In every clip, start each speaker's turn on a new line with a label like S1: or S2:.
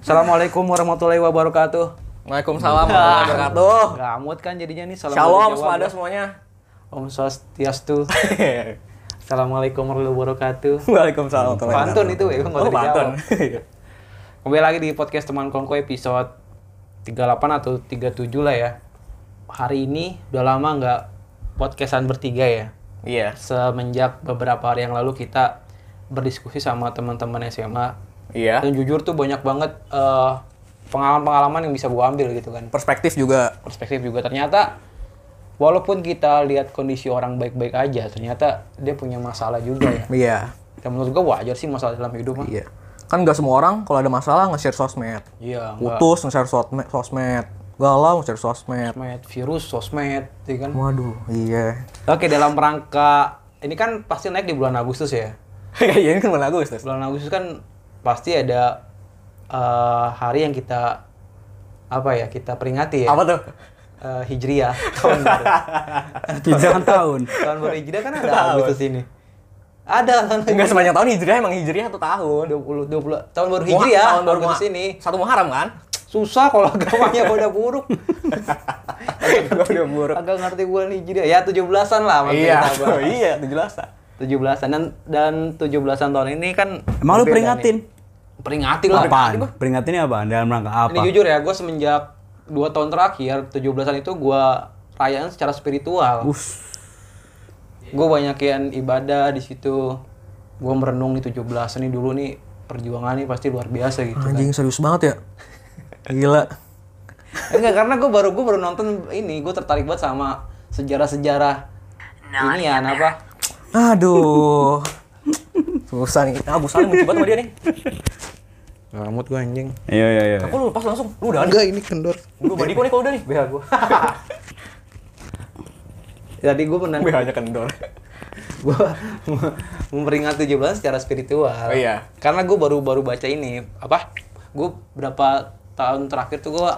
S1: Assalamualaikum warahmatullahi wabarakatuh.
S2: Waalaikumsalam warahmatullahi wabarakatuh.
S1: Gamut kan jadinya nih. salam
S2: Shalom
S1: dari Jawa.
S2: kepada semuanya.
S1: Om Swastiastu. Assalamualaikum warahmatullahi wabarakatuh.
S2: Waalaikumsalam warahmatullahi
S1: Pantun itu ya,
S2: wabarakatuh. Oh, pantun.
S1: Kembali lagi di podcast teman kongko episode 38 atau 37 lah ya. Hari ini udah lama nggak podcastan bertiga ya.
S2: Iya.
S1: Semenjak beberapa hari yang lalu kita berdiskusi sama teman-teman SMA.
S2: Iya.
S1: Dan jujur tuh banyak banget eh, pengalaman-pengalaman yang bisa gua ambil gitu kan.
S2: Perspektif juga.
S1: perspektif juga ternyata walaupun kita lihat kondisi orang baik-baik aja ternyata dia punya masalah juga ya
S2: Iya.
S1: dan menurut gua wajar sih masalah dalam hidup mah
S2: Iya. Kan nggak semua orang kalau ada masalah nge-share sosmed.
S1: iya nggak
S2: Putus nge-share sosmed, sosmed. Galau nge-share sosmed.
S1: sosmed virus sosmed ya kan
S2: Waduh, iya.
S1: oke dalam rangka ini kan pasti naik di bulan Agustus ya
S2: Iya, ini kan bulan Agustus.
S1: bulan Agustus kan pasti ada eh, hari yang kita apa ya kita peringati ya
S2: Apa tuh?
S1: Eh, Hijriah tahun baru
S3: Hijrah tahun.
S1: tahun baru Hijriah kan ada Agustus ini ada tahun
S2: Enggak sepanjang tahun hijriah emang hijriah satu tahun.
S1: 20 20 tahun baru Hijriah
S2: Tahun baru
S1: Agustus
S2: Muha-
S1: ini
S2: Satu Muharram kan?
S1: susah kalau agamanya pada buruk
S2: Udah buruk.
S1: agak ngerti gue nih jadi ya 17-an lah maksudnya
S2: Iya,
S1: kita bahas.
S2: iya, tujuh belasan.
S1: 17-an dan dan 17-an tahun ini kan
S3: Emang lu
S1: berbeda
S3: peringatin?
S1: nih. peringatin lah
S3: Apaan? Peringatinnya apaan? Dalam rangka
S1: ini
S3: apa?
S1: jujur ya gue semenjak 2 tahun terakhir 17-an itu gue rayain secara spiritual
S3: Us,
S1: gue banyakin ibadah di situ gue merenung nih 17-an nih dulu nih perjuangan nih pasti luar biasa gitu kan.
S2: Anjing serius banget ya. Gila.
S1: Enggak, karena gue baru gue baru nonton ini, gue tertarik banget sama sejarah-sejarah
S2: Nah,
S1: ini
S2: iya,
S1: ya, apa?
S2: Aduh. Susah nih. Ah, busan benci banget sama dia nih.
S1: Ngamut gue anjing.
S3: Iya iya iya.
S2: Aku lu lepas langsung. Lu udah ada.
S1: Enggak, ini kendor.
S2: Gua body kok nih kalau udah nih.
S1: BH gue. Tadi gue pernah
S2: BH-nya kendor.
S1: gue memperingati 17 secara spiritual.
S2: Oh, iya.
S1: Karena gue baru-baru baca ini apa? Gue berapa tahun terakhir tuh gue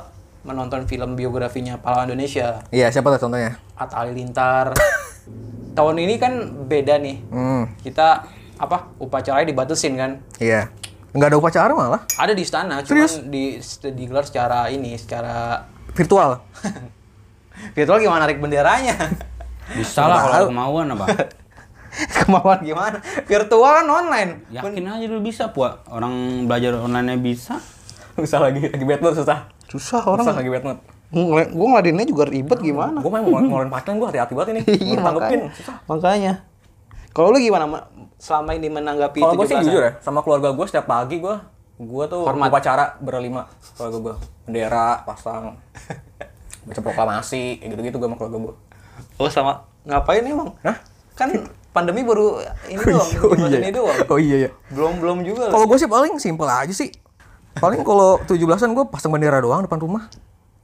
S1: menonton film biografinya pahlawan Indonesia
S2: Iya, siapa tuh contohnya?
S1: Atta Halilintar. tahun ini kan beda nih.
S2: Hmm,
S1: Kita apa upacaranya dibatasin kan?
S2: iya. Enggak ada upacara malah.
S1: Ada di istana, cuman di digelar secara ini, secara
S2: Virtual.
S1: virtual gimana narik benderanya?
S3: Bisa lah kalau ada kemauan apa?
S1: Kemauan gimana? Virtual kan online.
S3: Yakin aja lu bisa, Pua. Orang belajar online-nya bisa.
S2: Susah lagi, lagi bad mood susah.
S1: Susah
S2: Susah lagi bad mood.
S1: Gue ngeladeninnya juga ribet gimana?
S2: Gua main mau ngeluarin pacaran gua hati-hati banget ini. Gua tanggepin.
S1: Susah. Makanya. Kalau lu gimana Ma- selama ini menanggapi
S2: Kalau gua sih
S1: 17-an?
S2: jujur ya, sama keluarga gua setiap pagi gua gua tuh
S1: Hormat.
S2: upacara berlima keluarga gua. Bendera pasang baca proklamasi kayak gitu-gitu gua sama keluarga gua.
S1: Oh sama. Ngapain emang?
S2: Hah?
S1: Kan pandemi baru ini doang, jelasin ini doang.
S2: Oh iya iya.
S1: Belum belum juga. lah.
S2: Kalau gue sih paling simpel aja sih. Paling kalau 17-an gue pasang bendera doang depan rumah.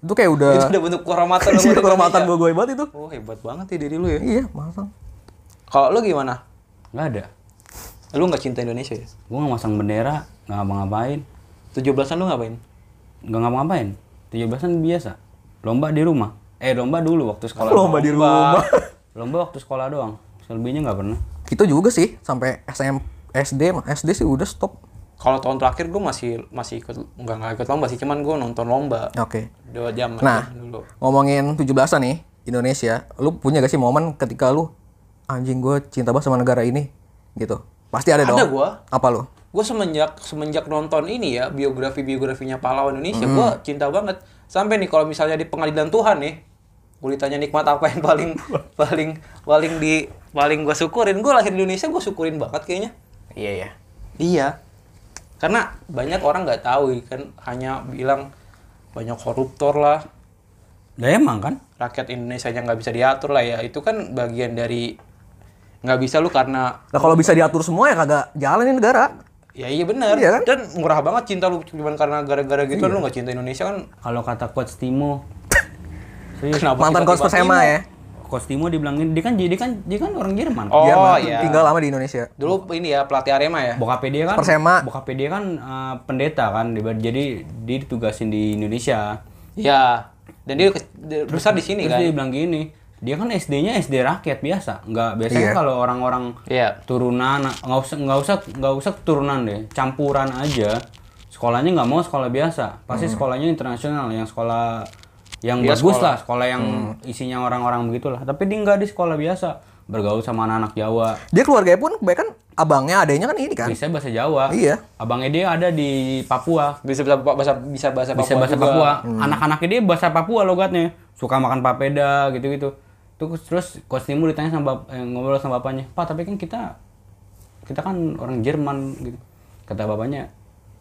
S2: Itu kayak udah
S1: Itu udah bentuk kehormatan
S2: itu
S1: sama
S2: udah kehormatan
S1: Indonesia.
S2: Iya. gue gue banget itu.
S1: Oh hebat banget ya diri lu ya.
S2: Iya, pasang.
S1: Kalau lu gimana?
S3: Nggak ada.
S1: Lu nggak cinta Indonesia ya?
S3: Gua nggak masang bendera, nggak ngapa-ngapain.
S1: 17-an lu ngapain?
S3: Nggak ngapa-ngapain. 17-an biasa. Lomba di rumah. Eh, lomba dulu waktu sekolah.
S2: Lomba di rumah.
S3: Lomba waktu sekolah doang. Selebihnya nggak pernah.
S2: Itu juga sih sampai SM SD mah. SD sih udah stop.
S1: Kalau tahun terakhir gue masih masih ikut nggak nggak ikut lomba sih, cuman gue nonton lomba
S2: Oke.
S1: dua jam
S2: Oh. Nah,
S1: aja dulu.
S2: ngomongin 17-an nih Indonesia, lu punya gak sih momen ketika lu anjing gue cinta banget sama negara ini gitu. Pasti ada,
S1: Ada
S2: dong.
S1: gua.
S2: Apa lu?
S1: Gue semenjak semenjak nonton ini ya biografi biografinya pahlawan Indonesia, gue
S2: Hmm.
S1: cinta banget. Sampai nih kalau misalnya di pengadilan Tuhan nih, gue ditanya nikmat apa yang paling paling paling di paling gue syukurin, gue lahir di Indonesia gue syukurin banget kayaknya.
S2: Iya iya.
S1: Iya. Karena banyak orang nggak tahu ya kan hanya bilang banyak koruptor lah,
S3: Ya emang kan?
S1: rakyat Indonesia yang nggak bisa diatur lah ya. Itu kan bagian dari nggak bisa lu karena
S2: Nah, kalau bisa diatur semua ya kagak jalanin negara.
S1: ya iya benar
S2: Iya kan?
S1: dan murah banget cinta lu cuman karena gara-gara gitu lu nggak cinta Indonesia kan
S3: Kalau kata Coach Timo. Serius.
S1: kenapa
S2: Mantan
S1: tiba-tiba
S2: kos persema
S1: ini?
S2: ya.
S3: Coach Timo dibilangin, dia kan jadi kan dia kan orang Jerman.
S1: Oh
S2: Jerman
S1: iya.
S2: tinggal lama di Indonesia.
S1: dulu ini ya pelatih Arema ya
S3: Bokapnya dia kan
S2: Persema.
S3: Bokapnya dia kan eh, pendeta kan, dia- jadi dia ditugasin di Indonesia.
S1: ya dan dia, ke- dia besar di sini
S3: Terus
S1: kan
S3: dia bilang gini, dia kan SD-nya SD rakyat biasa, nggak biasanya
S2: Iya.
S3: kalau orang-orang
S1: Iya.
S3: turunan nggak usah nggak usah nggak usah turunan deh, campuran aja. Terus sekolahnya nggak mau sekolah biasa pasti sekolahnya internasional yang sekolah yang
S1: Iya,
S3: bagus
S1: sekolah.
S3: lah sekolah yang isinya orang-orang begitulah tapi dia nggak di sekolah biasa bergaul sama anak-anak Jawa
S2: Dia keluarganya pun kebanyakan abangnya, adanya kan ini kan.
S3: bisa bahasa Jawa
S2: Iya.
S3: abangnya dia ada di Papua
S1: bisa bisa bahasa bisa bahasa
S3: bisa
S1: Papua
S3: bahasa
S1: juga.
S3: Papua. Anak-anaknya dia bahasa Papua logatnya. Suka makan papeda gitu-gitu. Terus terus coach Timo ditanya sama bap- eh, ngobrol sama bapaknya, "Pak, tapi kan kita kita kan orang Jerman gitu." Kata bapaknya,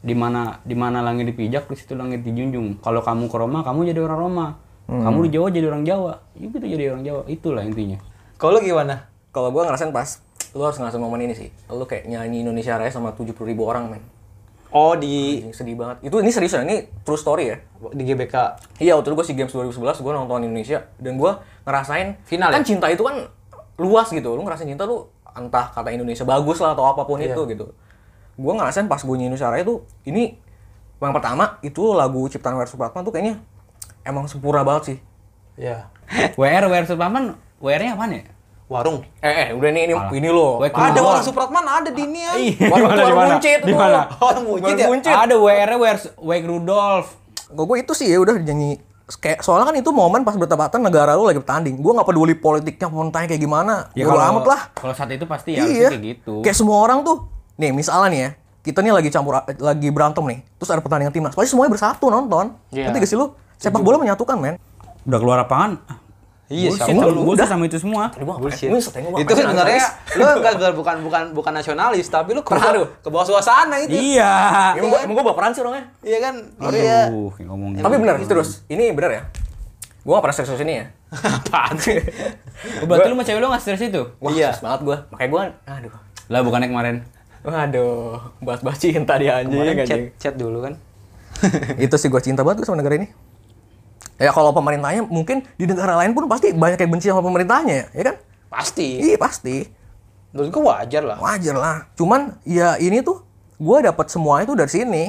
S3: "Di mana di mana langit dipijak, di situ langit dijunjung. Kalau kamu ke Roma, kamu jadi orang Roma. Kamu di Jawa jadi orang Jawa." Ya gitu jadi orang Jawa. Itulah intinya.
S1: Kalau lu gimana?
S2: Kalau gua ngerasain pas, lu harus ngerasain momen ini sih. Lu kayak nyanyi Indonesia Raya sama 70 ribu orang, men.
S1: Oh di
S2: Anjing, Sedih banget. Itu ini serius ya, ini true story ya.
S1: di GBK.
S2: Iya, waktu itu gue SEA Games 2011, gue nonton Indonesia. Dan gue ngerasain,
S1: Final
S2: kan cinta itu kan luas gitu. Lu ngerasain cinta lu entah kata Indonesia bagus lah atau apapun itu gitu. Gue ngerasain pas gue nyanyi Indonesia Raya tuh, ini yang pertama itu lagu Ciptaan Wersus Supratman tuh kayaknya emang sempurna banget sih.
S1: Ya.
S3: WR WR Supratman, WR-nya apaan ya?
S1: Warung.
S2: Eh, eh udah nih ini, ini loh.
S3: Wek,
S1: Ada
S3: Warung.
S1: warung Supratman ada di ini ya.
S2: Warung-
S3: Di mana, di
S2: warung
S3: mana?
S2: buncit
S3: Di
S2: tuh.
S3: mana?
S1: Warung buncit ya?
S2: Buncit.
S3: Ada WR-nya WR Wake Rudolf.
S2: Gue gue itu sih ya udah nyanyi kayak soalnya kan itu momen pas bertepatan negara lu lagi bertanding. Gue nggak peduli politiknya mau tanya kayak gimana. Ya,
S3: kalau-
S2: amat lah.
S3: Kalau saat itu pasti ya harusnya
S2: iya.
S3: kayak gitu.
S2: Kayak semua orang tuh. Nih misalnya nih ya, kita nih lagi campur lagi berantem nih. Terus ada pertandingan timnas. Pasti semuanya bersatu nonton.
S1: Iya.
S2: Nanti gak sih lu? Sepak bola menyatukan, men.
S3: Udah keluar lapangan. ah,
S1: Iya,
S3: bullshit
S1: sama.
S3: sama, bullshit sama itu semua.
S1: Bullshit.
S2: Ini setengah gua
S1: Itu
S2: ngapain
S1: sebenarnya
S2: nangis?
S1: lu enggak bukan bukan bukan bukan nasionalis tapi lu ke bawah, ke bawah suasana itu.
S3: Iya.
S2: Emang gue, emang gue baperan sih orangnya.
S1: Iya kan? Iya.
S3: Aduh, kayak ngomong gitu.
S2: ya. Tapi bener, terus. Ini bener ya. Gue gak pernah serius ini ya.
S1: Apaan sih?
S3: Oh, Berarti lu sama cewek lu nggak stres itu?
S2: Wah,
S1: Iya.
S2: serius banget gue. Makanya gue, aduh.
S3: Lah bukannya kemarin.
S2: Waduh, bahas-bahas cinta dia anjing.
S1: Kemarin
S2: anjing.
S1: Kan chat chat dulu kan.
S2: itu sih gue cinta banget gua sama negara ini ya kalau pemerintahnya mungkin di negara lain pun pasti banyak yang benci sama pemerintahnya ya kan
S1: Pasti.
S2: iya pasti
S1: Menurut gua wajar lah.
S2: wajar lah cuman ya ini tuh gue dapat semuanya tuh dari sini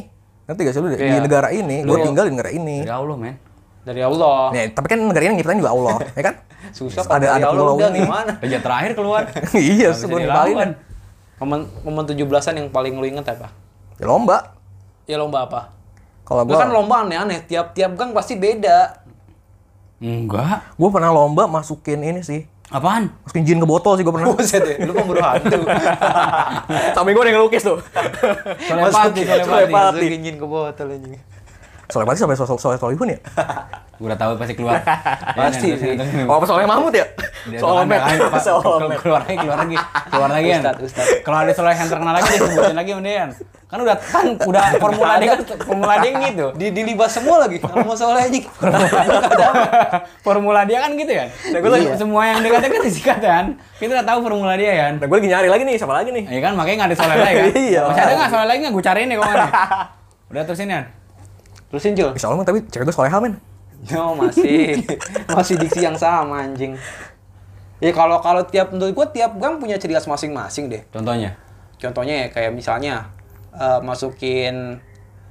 S2: nanti gak sih lu di- di
S1: Iya.
S2: negara ini gue tinggal di negara ini
S3: Ya Allah, men.
S1: Dari Allah.
S2: ya, tapi kan negara ini yang nyiptain juga Allah ya kan
S1: Susah kalau
S2: ada
S1: dari
S2: ada
S1: Allah
S2: pulau
S1: udah
S2: ini
S1: gimana?
S3: Kerja terakhir keluar.
S2: iya
S3: Nggak bisa
S2: sebelum
S3: dilawan.
S2: dibalikin
S1: Momen momen 17-an yang paling lu inget apa?
S2: ya lomba
S1: Ya lomba apa?
S2: kalau
S1: Lu
S2: gue
S1: kan lomba aneh-aneh, tiap-tiap gang pasti beda.
S3: Enggak.
S2: gue pernah lomba masukin ini sih
S3: Apaan?
S2: masukin jin ke botol sih gue pernah
S1: Buset ya, lu pemburu hantu.
S2: sampai gue ada yang lukis tuh
S3: Telepati, telepati.
S1: Masukin jin ke botol anjing.
S2: soalnya pasti sampai soal soal soal ya
S3: Gua udah tahu pasti keluar. Ya,
S1: Pasti.
S2: Oh, apa soalnya Mahmud ya? Soal Omet. Soal Omet.
S3: keluar lagi, keluar lagi, keluar lagi. Yan.
S1: Ustadz, Ustadz.
S3: Kalau ada soal yang terkenal lagi, disebutin lagi mendingan. Kan udah kan udah formula dia kan formula dia yang gitu.
S1: Di dilibas semua lagi, sama soalnya anjing.
S3: formula dia kan gitu kan.
S2: gua
S1: Iya.
S2: lagi-
S3: Semua yang dikatakan kan disikat kan. Kita udah tahu formula dia kan.
S2: Nah, gue lagi nyari lagi nih, siapa lagi nih?
S3: Iya kan makanya nggak ada soal lain kan.
S2: Iya,
S3: Masih ada
S2: makanya.
S3: nggak soal lain nggak? Gue cariin deh kemana. Udah terusin ya.
S1: Terusin Jul.
S2: Insya Allah, tapi cewek gue soleha, men.
S1: No, Oh, masih masih diksi yang sama anjing. Ya kalau kalau tiap menurut gua tiap gang punya ciri khas masing-masing deh.
S3: Contohnya.
S1: Contohnya ya kayak misalnya eh, masukin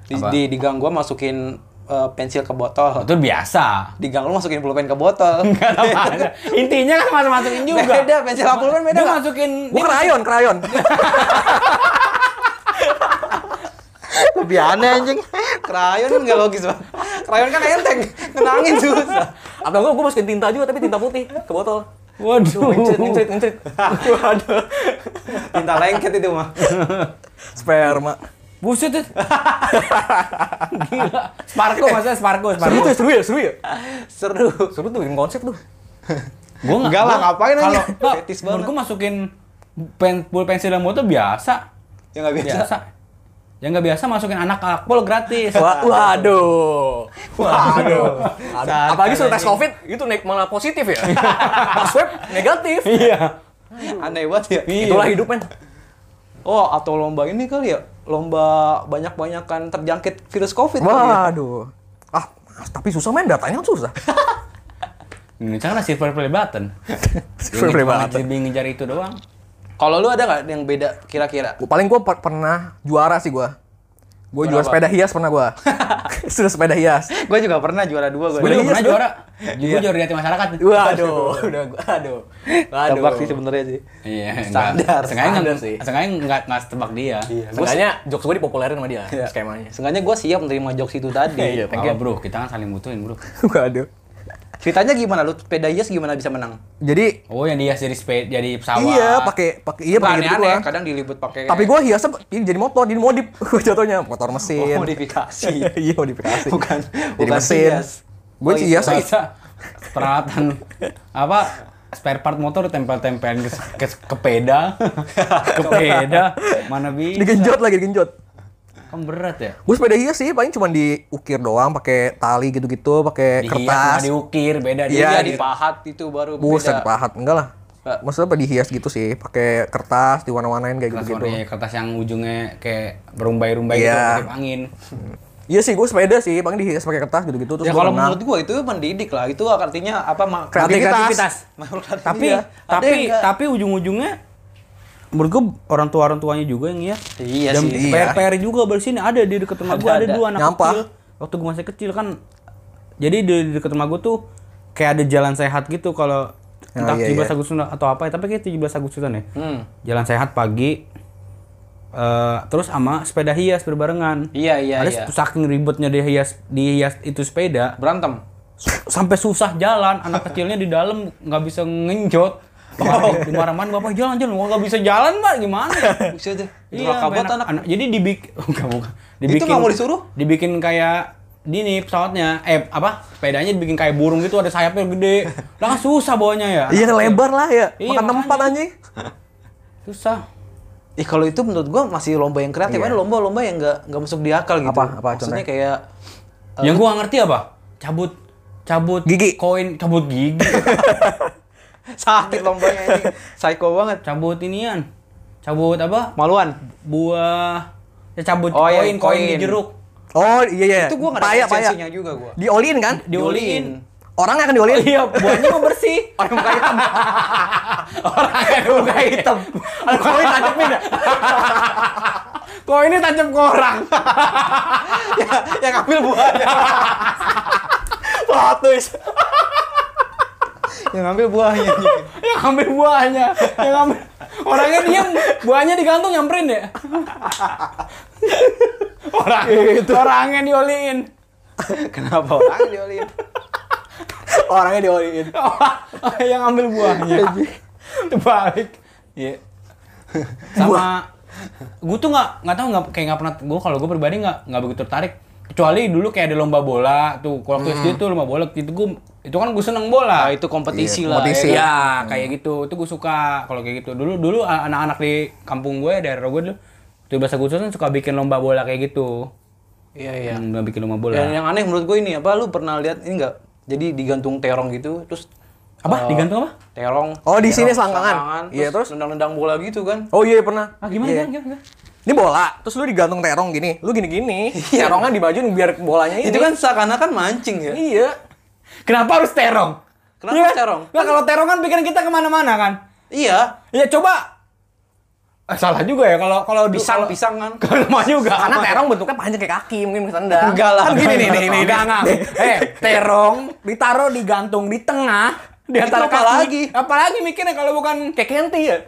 S1: di,
S3: Apa?
S1: di, di gang gua masukin eh, pensil ke botol.
S3: Oh, Itu biasa.
S1: Di gang lu masukin pulpen ke botol.
S3: Nggak tahu ada. Intinya kan masuk-masukin juga.
S1: Beda, pensil sama pulpen beda
S3: Dia
S1: nggak?
S3: masukin.
S2: Gue krayon, krayon.
S1: Lebih aneh anjing. Krayon kan nggak logis banget. Krayon kan enteng, kenangin susah.
S2: Atau gue, gue masukin tinta juga, tapi tinta putih ke botol.
S3: Waduh.
S2: Incrit, incrit, incrit. Waduh.
S1: Tinta lengket itu mah.
S2: Sperma.
S3: Buset tuh. Gila. Sparko maksudnya Sparko,
S2: Seru
S3: Sparko.
S2: tuh, seru ya, seru ya.
S1: Seru.
S2: Seru tuh, bikin konsep tuh.
S3: Gua
S1: Enggak lah, ngapain aja.
S3: Kalau nggak,
S1: Fetis banget.
S3: menurut gua masukin pen, pulpen pensil dan motor biasa.
S1: Ya nggak biasa.
S3: Biasa. Yang Ya. nggak biasa masukin anak akpol gratis.
S2: Wa- Waduh. Waduh.
S1: Saat
S2: Apalagi suruh tes
S1: anjing.
S2: covid, itu naik malah positif ya. Pas swab, negatif.
S3: Iya.
S1: Aneh banget ya.
S2: Itulah hidup, men.
S1: Oh, atau lomba ini kali ya? Lomba banyak-banyakan terjangkit virus COVID kali ya?
S2: Waduh. Ah, tapi susah men, datanya kan susah.
S3: Indonesia kan ada silver play button.
S2: Silver
S3: Yang
S2: play
S3: cuma
S2: button.
S3: Jadi ngejar itu doang.
S1: Kalau lu ada nggak yang beda kira-kira?
S2: Gua- paling gue pernah juara sih gue Gue juara sepeda hias pernah gue. Sudah sepeda hias.
S1: gue juga pernah juara dua gue.
S3: Gue juga
S2: Iya,
S3: pernah
S2: seru.
S3: juara. Gue juara di hati masyarakat.
S2: Waduh, udah gua aduh. Aduh.
S1: Tebak sih sebenarnya sih.
S3: Iya,
S1: Standar,
S3: standar. Sengaja
S2: standar
S3: enggak
S2: sih.
S3: sih. Sengaja enggak enggak tebak dia.
S1: Iya. Gua
S2: Seenggaknya jokes gue dipopulerin sama dia skemanya.
S1: Seenggaknya gue siap menerima jokes itu tadi.
S2: Iya,
S3: Thank bro, kita kan saling butuhin, bro.
S2: Waduh.
S1: Ceritanya gimana? Lu sepeda hias gimana bisa menang?
S2: Jadi
S3: Oh, yang dia jadi sepeda, jadi pesawat.
S2: iya pakai pakai iya
S1: Nggak
S2: pakai gitu
S1: aneh-aneh,
S2: doang.
S1: Kan kadang diliput pakai
S2: Tapi gue hiasnya ini jadi motor, jadi modif. Gue jatuhnya motor mesin.
S1: Oh, modifikasi.
S2: Iya modifikasi.
S1: Bukan-
S2: jadi
S1: bukan
S2: mesin.
S1: hias.
S2: Gue
S1: Oh,
S2: hias aja.
S3: iya. kan? Masa peralatan apa spare part motor tempel-tempelin ke, ke, ke peda, ke peda, mana bisa?
S2: Digenjot lagi digenjot.
S3: Kan berat ya.
S2: Gue sepeda hias sih paling cuma diukir doang, pakai tali gitu-gitu, pakai
S3: Dihias
S2: kertas.
S3: sama diukir, beda dia.
S1: Iya,
S2: Iya,
S1: di
S2: iya.
S1: pahat itu baru beda.
S2: Buset
S1: Ya,
S2: pahat enggak lah.
S1: Nggak.
S2: Maksudnya apa dihias gitu sih, pakai kertas diwarna-warnain kayak
S3: Kertas
S2: gitu-gitu.
S3: warna- gitu. kertas yang ujungnya kayak berumbai-rumbai gitu,
S2: Iya.
S3: ketip angin.
S2: Iya sih, gue sepeda sih, paling dihias pakai kertas gitu-gitu terus
S1: Ya
S2: gua
S1: kalau
S2: menang.
S1: menurut gue itu mendidik lah. Itu artinya apa? ma-
S2: Kreativitas.
S1: Menurut kreativitas.
S3: Tapi
S1: Ada
S3: tapi
S1: yang nggak-
S3: tapi ujung-ujungnya menurut gua orang tua orang tuanya juga yang iya.
S1: Iya
S3: Dan
S1: sih.
S2: Iya.
S3: PR juga baru sini ada di dekat rumah
S1: Ada,
S3: gua ada,
S1: ada.
S3: dua anak
S2: Nyampah.
S3: kecil. Waktu gua masih kecil kan jadi di dekat rumah gua tuh kayak ada jalan sehat gitu kalau entah
S2: iya,
S3: 17
S2: iya.
S3: Agustusan atau apa ya, tapi kayak 17 Agustusan ya.
S1: Hmm.
S3: Jalan sehat pagi eh, terus sama sepeda hias berbarengan.
S1: Iya, iya,
S3: ada
S1: iya.
S3: saking ribetnya dia hias di hias itu sepeda
S1: Berantem.
S3: su- sampai susah jalan anak kecilnya di dalam nggak bisa ngenjot.
S1: Iya.
S3: Bapak dimarahin bapak jalan jalan nggak bisa jalan mbak gimana?
S1: Buset deh.
S3: Iya,
S1: Iya, kabut
S3: anak,
S1: anak.
S3: anak- jadi dibikin bukan, bukan. Dibikin
S1: nggak mau disuruh?
S3: Dibikin kayak di nih pesawatnya eh apa sepedanya dibikin kayak burung gitu ada sayapnya gede lah kan susah bawanya ya anak
S2: Iya
S3: kecil.
S2: lebar lah ya,
S3: Iya,
S2: makan
S3: makanya.
S2: tempat anjing.
S3: susah
S1: Ih kalau itu menurut gua masih lomba yang kreatif.
S2: Iya.
S1: Ada lomba-lomba yang nggak nggak masuk di akal gitu.
S2: Apa- apa
S1: Maksudnya
S2: contohnya?
S1: kayak eh,
S3: yang gua nggak ngerti apa cabut cabut
S2: Gigi.
S3: koin cabut gigi
S1: sakit lombanya ini. Psycho banget.
S3: cabut inian cabut apa
S1: Maluan.
S3: buah ya cabut
S1: Oh, iya,
S3: koin, koin di
S1: koin.
S3: jeruk
S2: Oh iya iya.
S1: Itu gua nggak ada
S2: Paya, paya.
S1: sensinya juga gua.
S2: Diolin kan?
S3: diuliin
S2: Orang akan diolin.
S3: Oh iya, buahnya mau bersih. Orang muka hitam. Orang muka hitam. Koin tancapin ya? Koinnya tancap ke orang.
S1: ya, yang ambil buahnya.
S2: Patus.
S1: yang iya. ambil buahnya. anjing.
S3: Yang ambil buahnya. Yang ambil. Orangnya diem, buahnya digantung nyamperin ya? Orang, orangnya dioliin.
S1: Kenapa orang diolin?
S2: Orangnya diolin.
S3: yang ambil buahnya. Terbalik. Iya. Sama gue tuh nggak nggak tahu nggak kayak nggak pernah gue kalau gue pribadi nggak nggak begitu tertarik kecuali dulu kayak ada lomba bola tuh kalau waktu SD tuh lomba bola gitu gue itu kan gue seneng bola
S1: Nah, Hmm. itu kompetisi
S2: Iya,
S1: lah.
S2: kompetisi.
S1: ya kan?
S3: ya kayak gitu itu gue suka kalau kayak gitu dulu dulu a- anak-anak di kampung gue daerah gue dulu tuh bahasa khusus kan suka bikin lomba bola kayak gitu
S1: Iya, iya.
S3: yang bikin lomba bola
S1: Dan yang aneh menurut gue ini apa lu pernah lihat ini enggak? Jadi digantung terong gitu terus eh,
S3: apa digantung apa
S1: Terong.
S2: Oh, di sini
S1: terong,
S2: selangkangan. Iya, terus?
S1: terus nendang-nendang bola gitu kan.
S2: Oh iya pernah.
S3: ah gimana
S2: Iya.
S3: gimana, gimana?
S2: Ini bola, terus lu digantung terong gini. Lu gini-gini.
S3: Iya.
S2: Terongnya dibajuin biar bolanya Nah, ini.
S1: Itu kan seakan-akan mancing ya.
S2: Iya.
S3: Kenapa harus terong?
S1: Kenapa
S3: Iya kan?
S1: terong?
S3: Nah, kalau terong kan pikiran kita kemana-mana kan.
S1: Iya.
S3: Ya coba. Eh, salah juga ya kalau kalau di-
S1: Pisang,
S3: kalau-
S1: pisang kan.
S3: Kalau mau juga.
S2: Karena terong bentuknya panjang kayak kaki, mungkin bisa nendang.
S1: Enggak lah.
S2: Kan gini nih, nih, nih,
S3: Enggak,
S2: nih.
S3: enggak. Eh, terong ditaruh digantung di tengah
S1: Itu
S3: di antara
S1: apa
S3: kaki.
S1: lagi?
S3: Apalagi mikirnya kalau bukan kayak kenti ya.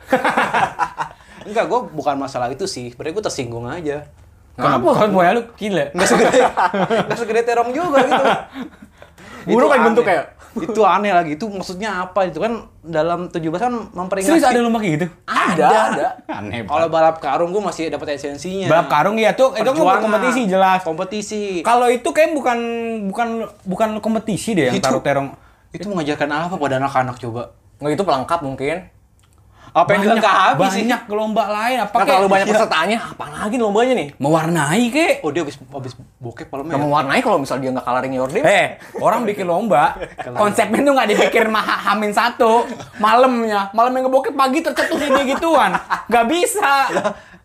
S1: Enggak, gue bukan masalah itu sih. Sebenarnya gue tersinggung aja.
S3: Kenapa kan boya lu gila?
S1: Enggak segede, enggak segede terong juga gitu.
S2: Buruk kan
S1: aneh.
S3: ya?
S2: bentuknya?
S1: Itu aneh lagi. Itu maksudnya apa? Itu kan dalam 17 kan memperingati.
S3: Serius ada lomba kayak gitu?
S2: Ada, ada.
S3: Aneh.
S1: Kalau balap karung gue masih dapat esensinya.
S3: Balap karung ya tuh
S1: Iya.
S3: itu kan
S1: Perjuangan.
S3: bukan kompetisi jelas.
S1: Kompetisi.
S3: Kalau itu kayak bukan bukan bukan kompetisi deh yang
S1: Itu-
S3: taruh terong.
S1: Itu mengajarkan apa pada anak-anak coba?
S2: Nggak itu pelengkap mungkin.
S1: Apa yang
S3: banyak,
S1: nggak habis sih?
S3: banyak lomba lain
S2: Nggak
S3: apa kayak-
S2: terlalu banyak pesertanya, apaan lagi lombanya nih?
S3: mewarnai kek.
S1: Oh dia habis habis bokep malamnya.
S3: Iya.
S2: Nggak
S1: ya?
S2: mewarnai kalau misal dia nggak kalah ring your
S3: Eh,
S2: name.
S3: orang bikin lomba, konsepnya tuh nggak dipikir mah hamin satu, malamnya, malam yang ngebokep pagi tercetus ini gituan, nggak bisa.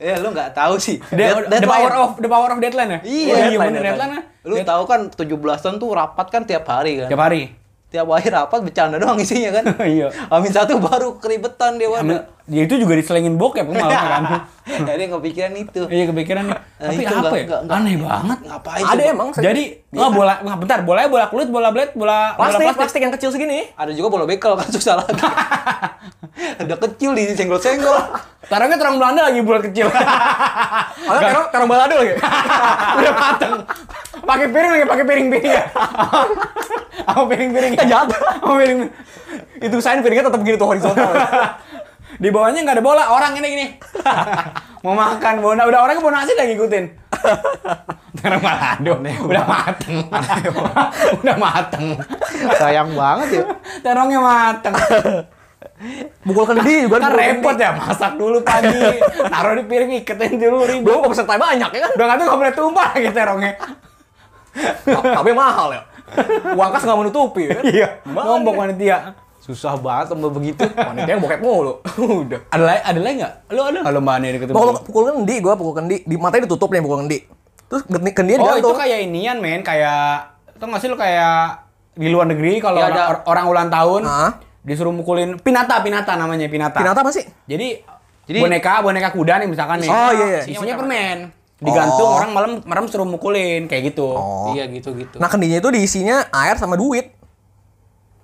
S1: Ya lu nggak tahu sih.
S3: The,
S1: Dead-
S3: the
S1: deadline.
S3: power of the power of deadline ya?
S1: Iya,
S3: Oh,
S2: deadline,
S3: bener,
S2: deadline.
S3: deadline. ya.
S1: Lu
S3: Dead-
S1: tahu kan 17-an tuh rapat kan tiap hari kan.
S3: tiap hari.
S1: tiap akhir rapat bercanda doang isinya kan
S3: Iya.
S1: Amin satu baru keribetan dia
S3: Ambil,
S1: wadah
S3: ya itu juga diselengin bokep malah kan.
S1: jadi kepikiran itu
S3: Iya kepikiran.
S1: Nah,
S3: Tapi
S1: itu nggak-
S3: apa ya?
S1: nggak- Iya. nggak-
S3: Aneh banget.
S1: ngapain
S2: Ada
S1: coba?
S2: emang se-
S3: Jadi, oh, bola, wah, bentar, bolanya bola kulit, bola blade, bola bola
S2: plastik, plastik yang kecil segini.
S1: ada juga bola bekel kan susah lagi ada kecil di senggol senggol
S3: Taruhnya terang Belanda lagi bulat kecil.
S2: Ada terong terong balado lagi.
S3: Udah mateng. Pakai piring lagi, pakai piring-piring ya. Sama piring-piring.
S2: Kita jahat.
S3: Sama piring.
S2: Itu sign piringnya tetap gini tuh horizontal.
S3: Di bawahnya nggak ada bola, orang ini gini. Mau makan bona, udah orangnya bona asin udah ngikutin. Terang Belanda, udah mateng. udah mateng.
S1: sayang banget ya
S3: Terongnya mateng.
S2: Mukul kendi juga
S3: Kan
S2: dipukul
S3: repot ya, masak dulu pagi. Taruh di piring, iketin dulu
S2: kendi.
S3: ribet.
S2: Belum peserta banyak ya kan.
S3: Udah nggak tuh nggak boleh tumpah lagi terongnya.
S2: Tapi mahal ya. Uang kas nggak menutupi. ya kan?
S3: Iya. Ngombok wanita.
S1: susah banget sama begitu
S2: Wanita yang bokep mulu. Udah.
S3: Ada lain, ada lain nggak? Lu ada nggak lomba aneh ketemu?
S2: Mau kalau pukul kendi, gua pukul kendi. Di matanya ditutup nih pukul kendi. Terus kendi- kendinya
S3: Oh itu
S2: digantung.
S3: kayak inian men, kayak tau nggak sih lu kayak di luar negeri kalau
S1: Ya,
S3: orang,
S1: ada-
S3: or- orang ulang tahun
S2: Iya, Hah?
S3: disuruh mukulin pinata pinata namanya pinata.
S2: Pinata apa sih?
S3: Jadi,
S1: Jadi-
S3: boneka boneka kuda nih misalkan nih.
S2: Oh, iya, iya.
S3: Isinya permen.
S2: Oh.
S3: Digantung orang malam merem suruh mukulin kayak gitu.
S1: iya gitu gitu
S2: Nah kendinya itu diisinya air sama duit.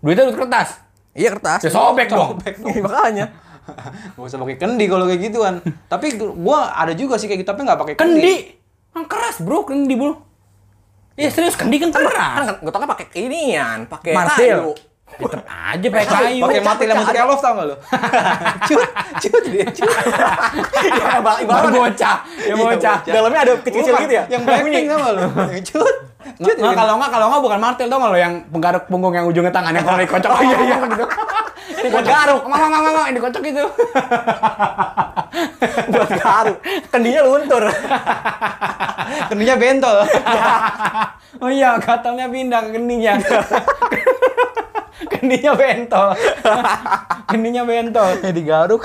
S3: Duitnya duit kertas.
S2: Iya kertas.
S3: Ya sobek dong.
S2: Iya, Makanya.
S1: gak usah pakai kendi kalau kayak gituan tapi gua ada juga sih kayak gitu tapi nggak pakai kendi,
S3: Kendi. Kan keras bro, kendi bro. Iya serius kendi kan
S2: Kan
S3: keras.
S2: gue tau kan pakai inian, pakai
S3: Martil.
S2: kayu.
S3: Ya, tetep aja pakai kayu.
S1: pakai mati yang masuk love tau gak lo cut cut dia cut
S2: Iya, bang,
S3: Baru bocah. Ya bocah.
S1: bocah.
S2: Dalamnya ada kecil-kecil
S1: Bukan,
S2: gitu ya.
S1: yang blackpink sama lo cut cut
S3: Nggak, kalau nggak kalau nggak bukan martil tau nggak lo yang penggaruk punggung yang ujungnya tangan yang kalau dikocok oh, iya iya gitu ini garuk mama mama mama ini kocok gitu
S2: buat garu. Kendinya luntur.
S1: kendinya bentol
S3: oh iya gatalnya pindah ke kendinya kendinya bentol kendinya bentol
S1: digaruk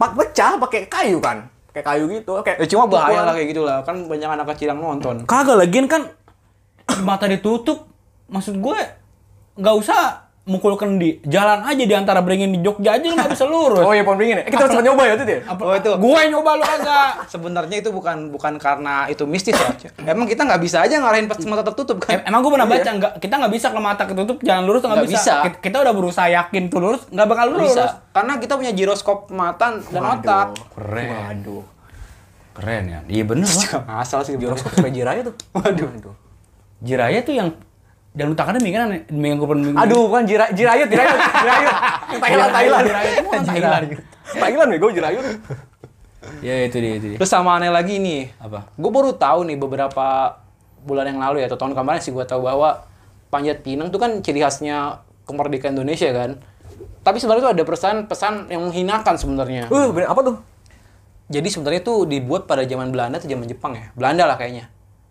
S2: Pak pecah pakai kayu kan. Pakai kayu gitu. Kayak
S1: ya cuma bahaya
S2: pukulan.
S1: lah kayak gitu lah kan banyak anak kecil yang nonton
S3: kagak lagian kan mata ditutup maksud gue nggak usah mukul kendi jalan aja di antara beringin di Jogja aja lu nggak bisa lurus
S2: Oh iya pohon beringin ya. Eh, Kita coba nyoba ya itu dia.
S3: Apa-
S1: Oh, itu.
S3: gue nyoba lu kagak
S1: sebenarnya itu bukan bukan karena itu mistis ya. emang kita nggak bisa aja ngarahin pas mata tertutup
S3: Em-
S1: kan
S3: Emang gue pernah baca nggak kita nggak bisa kalau mata ketutup jalan lurus tuh nggak
S1: Nggak
S3: bisa.
S1: bisa.
S3: Kit- Kita udah berusaha yakin tuh lurus nggak bakal
S1: Nggak
S3: lurus.
S1: bisa karena kita punya giroskop mata dan otak
S3: Keren. Waduh. Keren ya. Iya bener.
S1: Nggak masalah sih
S2: Jorok sampai jiranya tuh. Waduh.
S3: Jiraya tuh yang dalam utang akademi kan aneh. minggu ke minggu.
S2: Aduh, bukan jira jirayut, jirayut, jirayut. Thailand, Thailand.
S3: Jirayut. Jirayut.
S2: Thailand. Thailand nih, gue jirayut.
S3: Ya itu dia itu dia.
S1: Terus sama aneh lagi nih.
S3: Apa?
S1: Gue baru tahu nih beberapa bulan yang lalu ya atau tahun kemarin sih gue tahu bahwa panjat pinang tuh kan ciri khasnya kemerdekaan Indonesia kan. Tapi sebenarnya tuh ada pesan-pesan yang menghinakan sebenarnya.
S2: Uh, bener, apa tuh?
S1: Jadi sebenarnya tuh dibuat pada zaman Belanda atau zaman Jepang ya. Belanda lah kayaknya.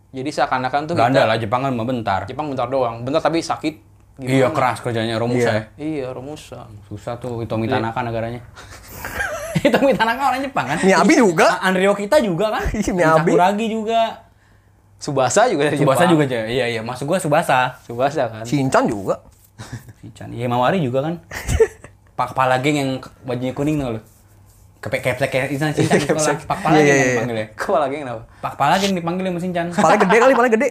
S1: Jadi seakan-akan tuh
S3: Belanda
S1: kita-
S3: lah Jepang kan mah bentar.
S1: Jepang bentar doang. Bentar tapi sakit. Gimana?
S3: Iya keras kerjanya romus
S2: Iya.
S3: ya.
S1: Iya, Romusa.
S3: Susah tuh Hitomi Tanaka negaranya. Hitomi Tanaka orang Jepang kan.
S2: Miyabi juga.
S3: A- Andrio kita juga kan.
S2: Iya, Miyabi.
S3: Sakuragi juga.
S1: Subasa juga dari
S3: Subasa
S1: Jepang.
S3: juga aja. Iya iya masuk gua Subasa.
S1: Subasa kan.
S2: Cincan juga.
S3: Ican. Iya Mawari juga kan. Pak kepala geng yang ke- bajunya kuning tuh lo. Kepe kepsek kayak Ican Sincan di sekolah. Pak kepala
S2: Iya,
S3: geng
S2: iya,
S3: yang
S2: iya.
S3: dipanggil ya.
S1: Kau lagi kenapa?
S3: Pak kepala geng dipanggil sama Sincan.
S2: Paling gede kali, paling gede.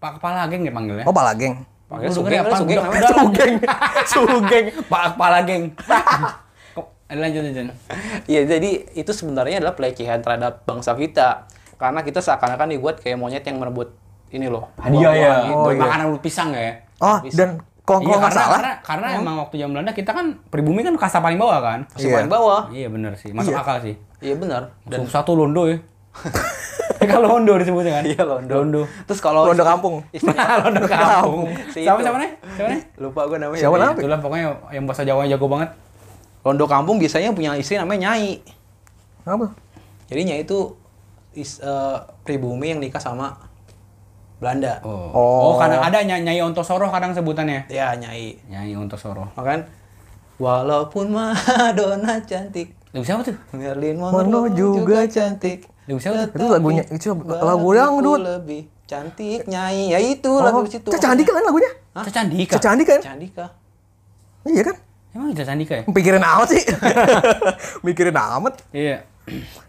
S3: Pak kepala geng dipanggil ya.
S2: Oh, kan? pala geng.
S1: Panggil
S3: Lu
S1: Sugeng,
S3: dengerin apa?
S1: Sugeng
S3: Udah-
S1: namanya.
S3: udah lah.
S2: Sugeng. Sugeng.
S3: Pak kepala geng. Kok- eh, Lanjut Ican.
S1: Iya, jadi itu sebenarnya adalah pelecehan terhadap bangsa kita. Karena kita seakan-akan dibuat kayak monyet yang merebut ini loh.
S3: Hadiah ya.
S1: buah-buahan gitu.
S3: Oh,
S2: iya.
S3: Makanan buat pisang ya.
S2: Oh,
S1: Habis.
S2: dan kalau
S3: Iya,
S2: kalau nggak
S3: karena,
S2: salah, Hmm?
S3: karena, karena emang waktu zaman Belanda kita kan pribumi kan kasta paling bawah kan.
S1: Masih
S2: Iya.
S1: paling bawah.
S3: Iya bener sih, masuk
S2: Iya.
S3: akal sih.
S1: Iya benar.
S3: Dan satu londo ya. Kalau londo disebutnya kan?
S1: Iya, londo.
S3: Londo.
S1: Terus kalau Iya,
S2: Londo kampung.
S3: Londo kampung.
S1: Si
S3: Siapa
S1: itu.
S3: siapa nih? Siapa nih?
S1: Lupa gue namanya.
S2: Siapa
S1: Iya.
S2: namanya?
S3: Itulah pokoknya yang bahasa Jawa jago banget.
S1: Londo kampung biasanya punya istri namanya Nyai.
S2: apa?
S1: Jadi Nyai itu is, eh, pribumi yang nikah sama Belanda.
S3: Oh.
S2: Oh.
S3: Oh, kadang ada ny- Nyai Ontosoro kadang sebutannya.
S1: Ya Nyai.
S3: Nyai Ontosoro.
S1: Makan walaupun Madonna cantik,
S3: Lagu siapa tuh?
S1: Marilyn
S2: Monroe
S1: Monroe juga cantik.
S3: Lagu siapa tuh?
S2: Itu lagunya- itu lagu
S1: bagiku
S2: dangdut.
S1: Lebih cantik Nyai. Ya itu
S2: Oh,
S1: lagu situ.
S2: Cah, jangan dikit kan lagunya.
S3: Caca Andika.
S2: Caca Andika kan?
S1: Candika.
S2: Iya kan?
S3: Emang Caca Andika ya?
S2: Mikirin amat sih. Mikirin amat.
S3: Iya.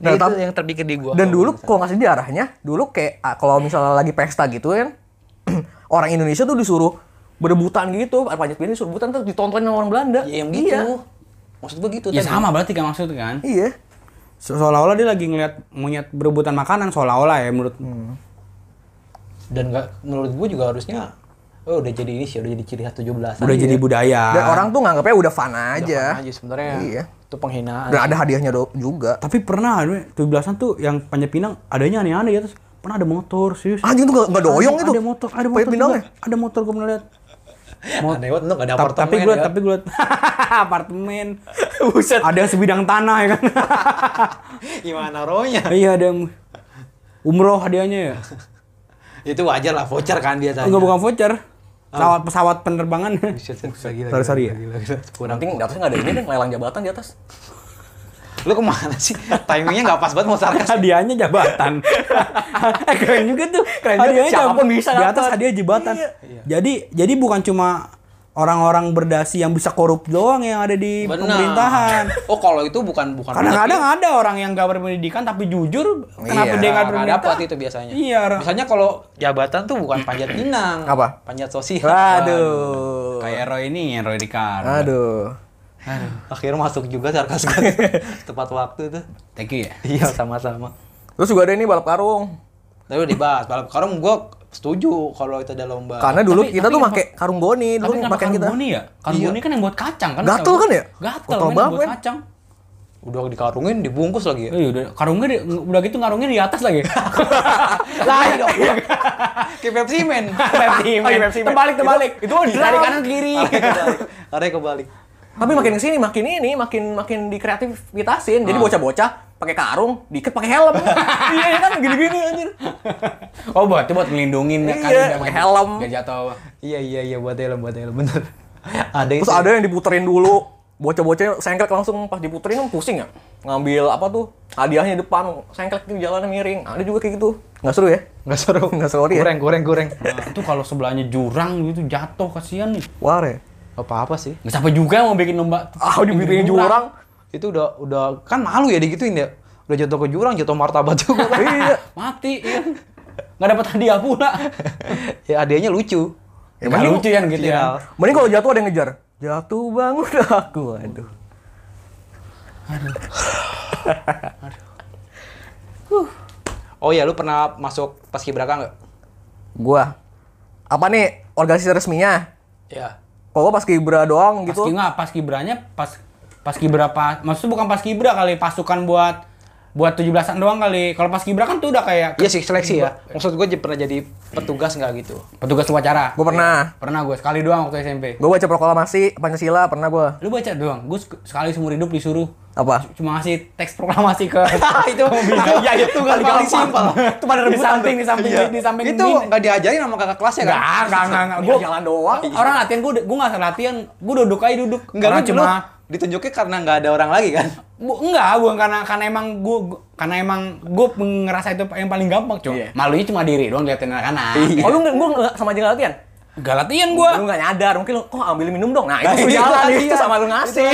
S1: Nah, itu
S2: Nah, tapi-
S1: yang terpikir di gua.
S2: Dan dulu kalau nggak salah di arahnya, dulu kayak ah, kalau misalnya lagi pesta gitu kan, orang Indonesia tuh disuruh berebutan gitu, ada panjat pinang disuruh berebutan terus ditontonin sama orang Belanda.
S1: Iya, yang gitu. Maksud gua gitu
S3: Ya
S1: tadi.
S3: sama berarti kan maksud kan?
S2: Iya. Iya.
S3: Se- seolah-olah dia lagi ngeliat monyet berebutan makanan seolah-olah ya menurut
S2: Hmm.
S1: Dan nggak menurut gua juga harusnya oh udah jadi ini sih, udah jadi ciri khas 17
S3: udah jadi budaya.
S2: Dan orang tuh nganggapnya Ah. udah fun aja.
S1: aja. aja sebenarnya.
S2: Iya.
S1: Itu penghinaan.
S2: Udah ada hadiahnya do- juga.
S3: Tapi pernah ada 17-an tuh yang Panjat Pinang adanya aneh-aneh ya terus pernah ada motor serius.
S2: Anjing tuh nggak- nggak doyong
S3: ada,
S2: itu. ya?
S3: Ada motor, ada
S2: Panjat
S3: motor. juga.
S2: Pinangnya.
S3: Ada motor gue pernah lihat.
S1: Aneh banget, enggak ada
S3: Ta-
S1: apartemen.
S3: tapi gue
S1: ya.
S3: tapi gue apartemen ada sebidang tanah ya kan
S1: gimana rohnya?
S3: iya ada yang umroh hadiahnya ya
S1: Itu wajar lah voucher kan biasanya.
S3: enggak bukan voucher pesawat pesawat penerbangan
S1: Buset, lagi
S3: Sorry, sorry ya.
S1: Kurang.
S2: Nanti di atasnya nggak ada ini deh, lelang jabatan di atas.
S1: Lu kemana sih? Timingnya nggak pas banget mau sarkas.
S3: hadiahnya jabatan eh keren juga tuh
S2: Keren juga.
S3: hadiahnya
S2: Siapapun
S3: jabatan
S2: bisa
S3: di atas
S2: dapat.
S3: hadiah jabatan
S1: Iya.
S3: jadi jadi bukan cuma orang-orang berdasi yang bisa korup doang yang ada di
S1: Benar.
S3: pemerintahan
S1: Oh, kalau itu bukan bukan
S3: kadang-kadang ada orang yang gak berpendidikan tapi jujur
S2: Iya.
S3: kenapa dia gak
S1: Nggak
S3: berpendidikan
S1: dapat itu biasanya.
S3: iya orang-
S1: Misalnya kalau jabatan tuh bukan panjat pinang.
S2: Apa?
S1: Panjat sosial.
S2: Waduh.
S3: Kayak Roy ini, Roy Ricardo.
S2: Aduh.
S1: Akhirnya masuk juga sarkas gua. tepat waktu tuh.
S3: Thank you ya.
S1: Iya, sama-sama.
S2: Terus juga ada ini balap karung.
S1: Tapi udah dibahas, balap karung gua setuju kalau itu ada lomba.
S2: Karena dulu
S3: Tapi-
S2: kita
S3: tapi
S2: tuh
S3: kenapa-
S2: pakai karung goni, dulu
S3: Tapi kenapa
S2: pakaian kita. Iya.
S3: karboni ya? Karboni kan yang buat kacang kan?
S2: Gatel
S3: setahu gua.
S2: kan ya?
S3: Gatel
S2: Kotor
S3: men, yang buat
S2: banget.
S3: kacang.
S1: udah dikarungin, dibungkus lagi ya.
S3: Eh, udah karungnya di- udah gitu ngarungnya di atas lagi.
S2: iya
S1: Lain dong. Kayak Pepsi Man.
S3: Pepsi
S2: Oh, iya,
S3: Man.
S2: Pepsi Man.
S3: Terbalik, terbalik.
S2: Itu- itu drum.
S3: dari kanan ke kiri.
S1: Arahnya kebalik.
S2: Tapi makin kesini makin ini makin makin dikreativitasin.
S3: Ah.
S2: Jadi bocah-bocah pakai karung, diikat pakai helm. iya iya kan gini-gini anjir.
S3: Oh, buat itu buat ngelindungin
S2: Iya,
S3: kan udah
S2: pakai
S3: maju.
S2: helm.
S3: Biar jatuh.
S1: Oh. Iya iya iya buat helm buat helm bener. ada
S2: Terus ada yang diputerin dulu. Bocah-bocahnya sengklek langsung pas diputerin kan pusing ya. Ngambil apa tuh? Hadiahnya di depan, sengklek di jalannya miring. Ada juga kayak gitu. Nggak seru ya?
S1: nggak seru
S2: Nggak seru ya?
S1: Goreng goreng goreng.
S3: Nah, itu kalau sebelahnya jurang gitu jatuh kasihan nih.
S2: Ware.
S1: Apa apa sih?
S3: Nggak sampai juga mau bikin lomba.
S2: ya? Ah, dibikin jurang.
S1: Itu udah udah kan malu ya digituin ya. Udah jatuh ke jurang, jatuh martabat juga. kan.
S2: Iya.
S3: Mati. Iya. Nggak dapat hadiah pula.
S1: ya adanya lucu.
S2: Ya,
S3: Nggak
S2: mending-
S3: lucu kan gitu ya.
S1: Viral.
S2: Mending kalau jatuh ada yang ngejar. Jatuh bangun aku. Aduh.
S1: Oh ya, lu pernah masuk paskibraka nggak?
S2: Gua. Apa nih organisasi resminya?
S1: Ya.
S2: Kalau gua pas kibra doang
S3: Pas
S2: gitu.
S3: nggak pas kibranya pas pas kibra pa- maksudnya bukan pas kibra kali pasukan buat buat 17-an doang kali. Kalau pas kibra kan tuh udah kayak
S1: Iya sih seleksi ya. Maksud gue pernah jadi petugas nggak gitu.
S3: petugas upacara. Iya.
S2: Gua pernah.
S3: Pernah gue sekali doang waktu SMP.
S2: Gua baca proklamasi Pancasila pernah gua.
S3: Lu baca doang. Gue sek- sekali seumur hidup disuruh
S2: Apa?
S3: cuma ngasih teks proklamasi ke
S1: itu ya itu nggak
S3: Paling
S1: paling
S3: gampang.
S1: simpel.
S3: Itu pada
S1: Di
S3: rebutan
S1: samping
S3: tuh.
S1: di samping
S3: Iya.
S1: di samping
S3: Itu
S1: nggak diajarin sama kakak kelasnya kan?
S3: Enggak, enggak, enggak, enggak. Gua
S2: Iya, jalan doang.
S3: Orang latihan gue gue enggak latihan, gue duduk aja duduk.
S1: Enggak
S3: Orang
S1: lu cuma ditunjuknya karena nggak ada orang lagi kan.
S3: Bu, enggak, gua karena karena emang gua gua- karena emang gua ngerasa itu yang paling gampang, cuy.
S2: Iya.
S3: Malunya cuma diri doang liatin anak-anak.
S2: Oh lu nggak- gua nggak sama aja nggak latihan?
S3: Enggak latihan gua.
S2: Lu nggak nyadar, mungkin lu, oh ambil minum dong. Nah, itu
S1: Iya,
S2: jalan,
S1: iya.
S2: itu sama lu ngasih.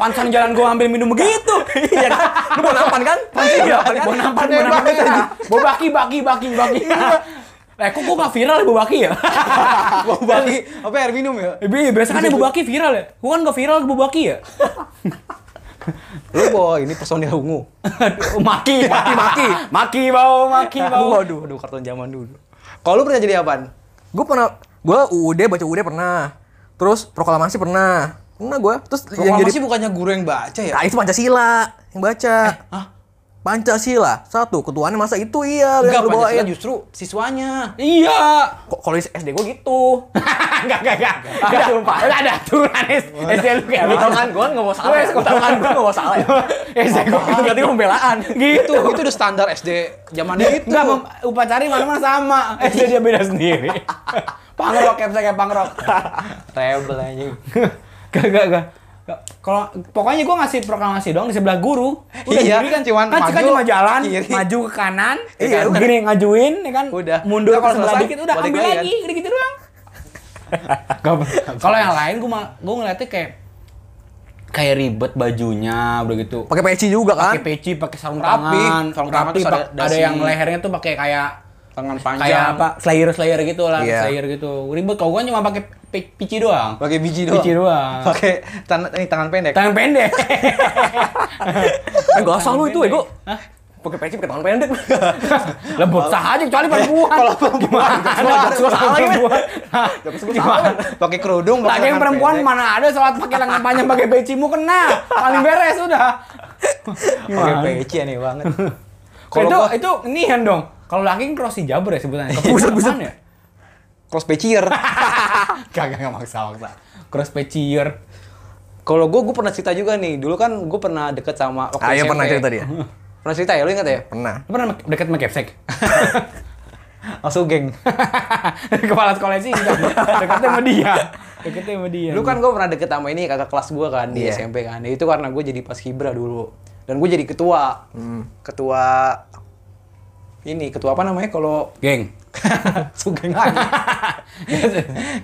S3: Pansan jalan gua ambil minum begitu.
S2: Iya kan? Lu mau nampan kan?
S3: Iya,
S2: nampan kan? Iya.
S3: gua nampan,
S1: Aneh
S3: gua nampan.
S1: banget,
S2: ya?
S1: anjing.
S3: Gua baki, baki, baki, baki. Eh, kok gua gak viral ya, Bu Baki ya?
S1: Bau baki apa air minum ya?
S3: Eh, Bi, biasanya kan ya Bu Baki viral ya? Gua kan gak viral Bu Baki ya?
S1: Lu bawa ini personil ungu.
S3: Aduh, maki, maki,
S2: maki.
S3: Maki bau, maki bau.
S1: Waduh, aduh kartun zaman dulu. Kalau lu pernah jadi apaan?
S2: Gua pernah, gua UUD baca UUD pernah. Terus proklamasi pernah. Pernah gua. Terus yang
S1: Proklamasi
S2: jadi
S1: bukannya guru yang baca ya?
S2: Nah, itu Pancasila yang baca.
S1: Hah?
S2: Pancasila satu ketuanya masa itu iya lu
S1: Enggak,
S2: yang lu
S1: Pancasila
S2: bawain.
S1: justru siswanya.
S3: Iya.
S2: Kok kalau di SD gua gitu.
S3: Enggak, enggak, enggak. Enggak, sumpah. Enggak ada aturan SD lu kayak
S2: Lu
S3: gitu.
S2: tau kan, gue nggak mau salah.
S3: Wes,
S2: ya. Lu tau kan, gue nggak mau salah. ya.
S3: SD gua
S2: Itu berarti pembelaan.
S1: Itu itu udah standar SD zaman
S2: Gitu.
S1: itu.
S3: Ya
S1: Eh,
S3: Enggak, mem- upacara mana-mana sama. SD dia beda sendiri. pangrok, kayak kayak pangrok.
S1: Rebel anjing.
S3: Gak, gak, gak. Gak. Kalau pokoknya gue ngasih proklamasi doang di sebelah guru.
S1: Iya,
S3: sendiri
S1: cuman
S3: kan
S1: maju,
S3: kan cuma jalan,
S1: kiri.
S3: maju ke kanan, ya
S2: Iya,
S3: kan?
S2: udah.
S3: gini ngajuin, ya kan?
S1: Udah.
S3: Mundur
S1: Udah,
S3: ke
S1: kalau
S3: sebelah
S1: selesai, ya.
S3: dikit udah
S1: balik
S3: ambil
S1: lagi,
S3: lagi, gitu, gitu doang. Gak ber- Kalau yang lain gue gue ngeliatnya kayak kayak ribet bajunya udah gitu.
S2: Pakai peci juga kan?
S3: Pakai peci, pakai sarung
S1: Rapi.
S3: tangan,
S1: Sarung tangan
S3: rapi,
S1: terus ada
S3: pak- ada,
S1: dasi.
S3: yang lehernya tuh pakai kayak
S1: Tangan
S3: kayak
S1: panjang.
S3: apa? Slayer-slayer gitu lah,
S2: Iya.
S3: slayer gitu. Ribet kalau gua cuma pakai pe- peci doang.
S1: Pakai biji doang.
S3: Biji doang.
S1: Pakai tangan ini tangan pendek.
S3: Tangan pendek.
S2: Eh gak asal lu itu ego.
S3: Hah?
S2: Pakai peci pakai tangan pendek.
S3: Lebut sah aja kecuali perempuan.
S2: Eh,
S3: Kalau perempuan gimana?
S2: Jokes gua salah lagi, men.
S3: Hah? Gimana?
S1: Pakai kerudung, pakai
S3: Lagi yang
S1: tangan
S3: perempuan
S1: pendek.
S3: mana ada sholat pakai lengan panjang pakai pecimu kena. Paling beres udah.
S1: Pakai
S3: Gimana?
S1: peci aneh banget.
S3: Kalau
S1: Kalau
S3: itu
S1: gua
S3: itu nihan dong. Kalau laki kan cross hijabber ya sebutannya.
S2: Buset, buset.
S3: Apaan ya?
S1: cross pecier.
S3: Kagak enggak maksa maksa. Cross pecier.
S1: Kalau gue, gue pernah cerita juga nih. Dulu kan gue pernah deket sama waktu
S2: Ah, iya, pernah cerita dia.
S1: Pernah cerita ya, lu ingat ya?
S2: Pernah.
S3: Lu pernah make- deket sama kepsek?
S1: Langsung geng.
S3: Kepala sekolah sih enggak. Deketnya sama dia. Deketnya sama dia.
S1: Dulu kan gue pernah deket sama ini kakak kelas gue kan di
S2: Iya.
S1: SMP kan. Itu karena gue jadi pas dulu. Dan gue jadi ketua. Ketua ini ketua apa namanya kalau
S3: geng.
S1: sugeng lagi.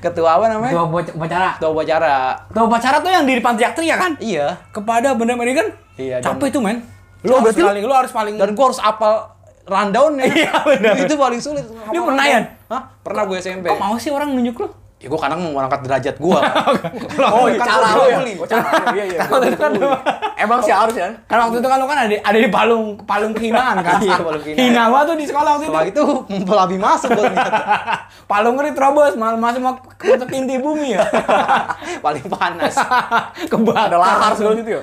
S1: ketua apa namanya?
S3: Ketua upac- upacara.
S1: Ketua upacara.
S3: Ketua upacara tuh yang di depan teriak-teriak kan?
S1: Iya.
S3: Kepada benda American?
S1: Iya, dan-
S3: Capek itu, men.
S1: Lu
S3: Lu harus
S1: berarti lu-
S3: paling lu harus paling
S1: Dan gue harus apal rundown ya.
S3: Iya, benar.
S1: Itu paling sulit.
S3: Dia pernah, Yan?
S1: Hah? Pernah gue SMP.
S3: Kok mau sih orang nunjuk lu?
S1: Ya gue kadang mau ngangkat derajat gue.
S2: Oh,
S1: Kalau
S3: gitu.
S2: iya,
S1: kan
S2: cara
S1: gua
S2: lu ya?
S1: bully.
S2: Oh, cara lu, iya, iya.
S1: Kalau kan lu-
S2: Emang sih harus ya.
S3: Karena waktu itu kan lu kan ada ada di palung palung kehinaan kan.
S1: Iya, palung gitu. kehinaan.
S3: Hina banget tuh di sekolah waktu
S1: Setelah itu
S3: itu.
S1: mempelabi masuk gue
S3: palung ngeri terobos, mal- masuk mau ke masuk ke inti bumi ya.
S1: Paling panas.
S3: Kebakar.
S2: Ada lahar segala gitu ya.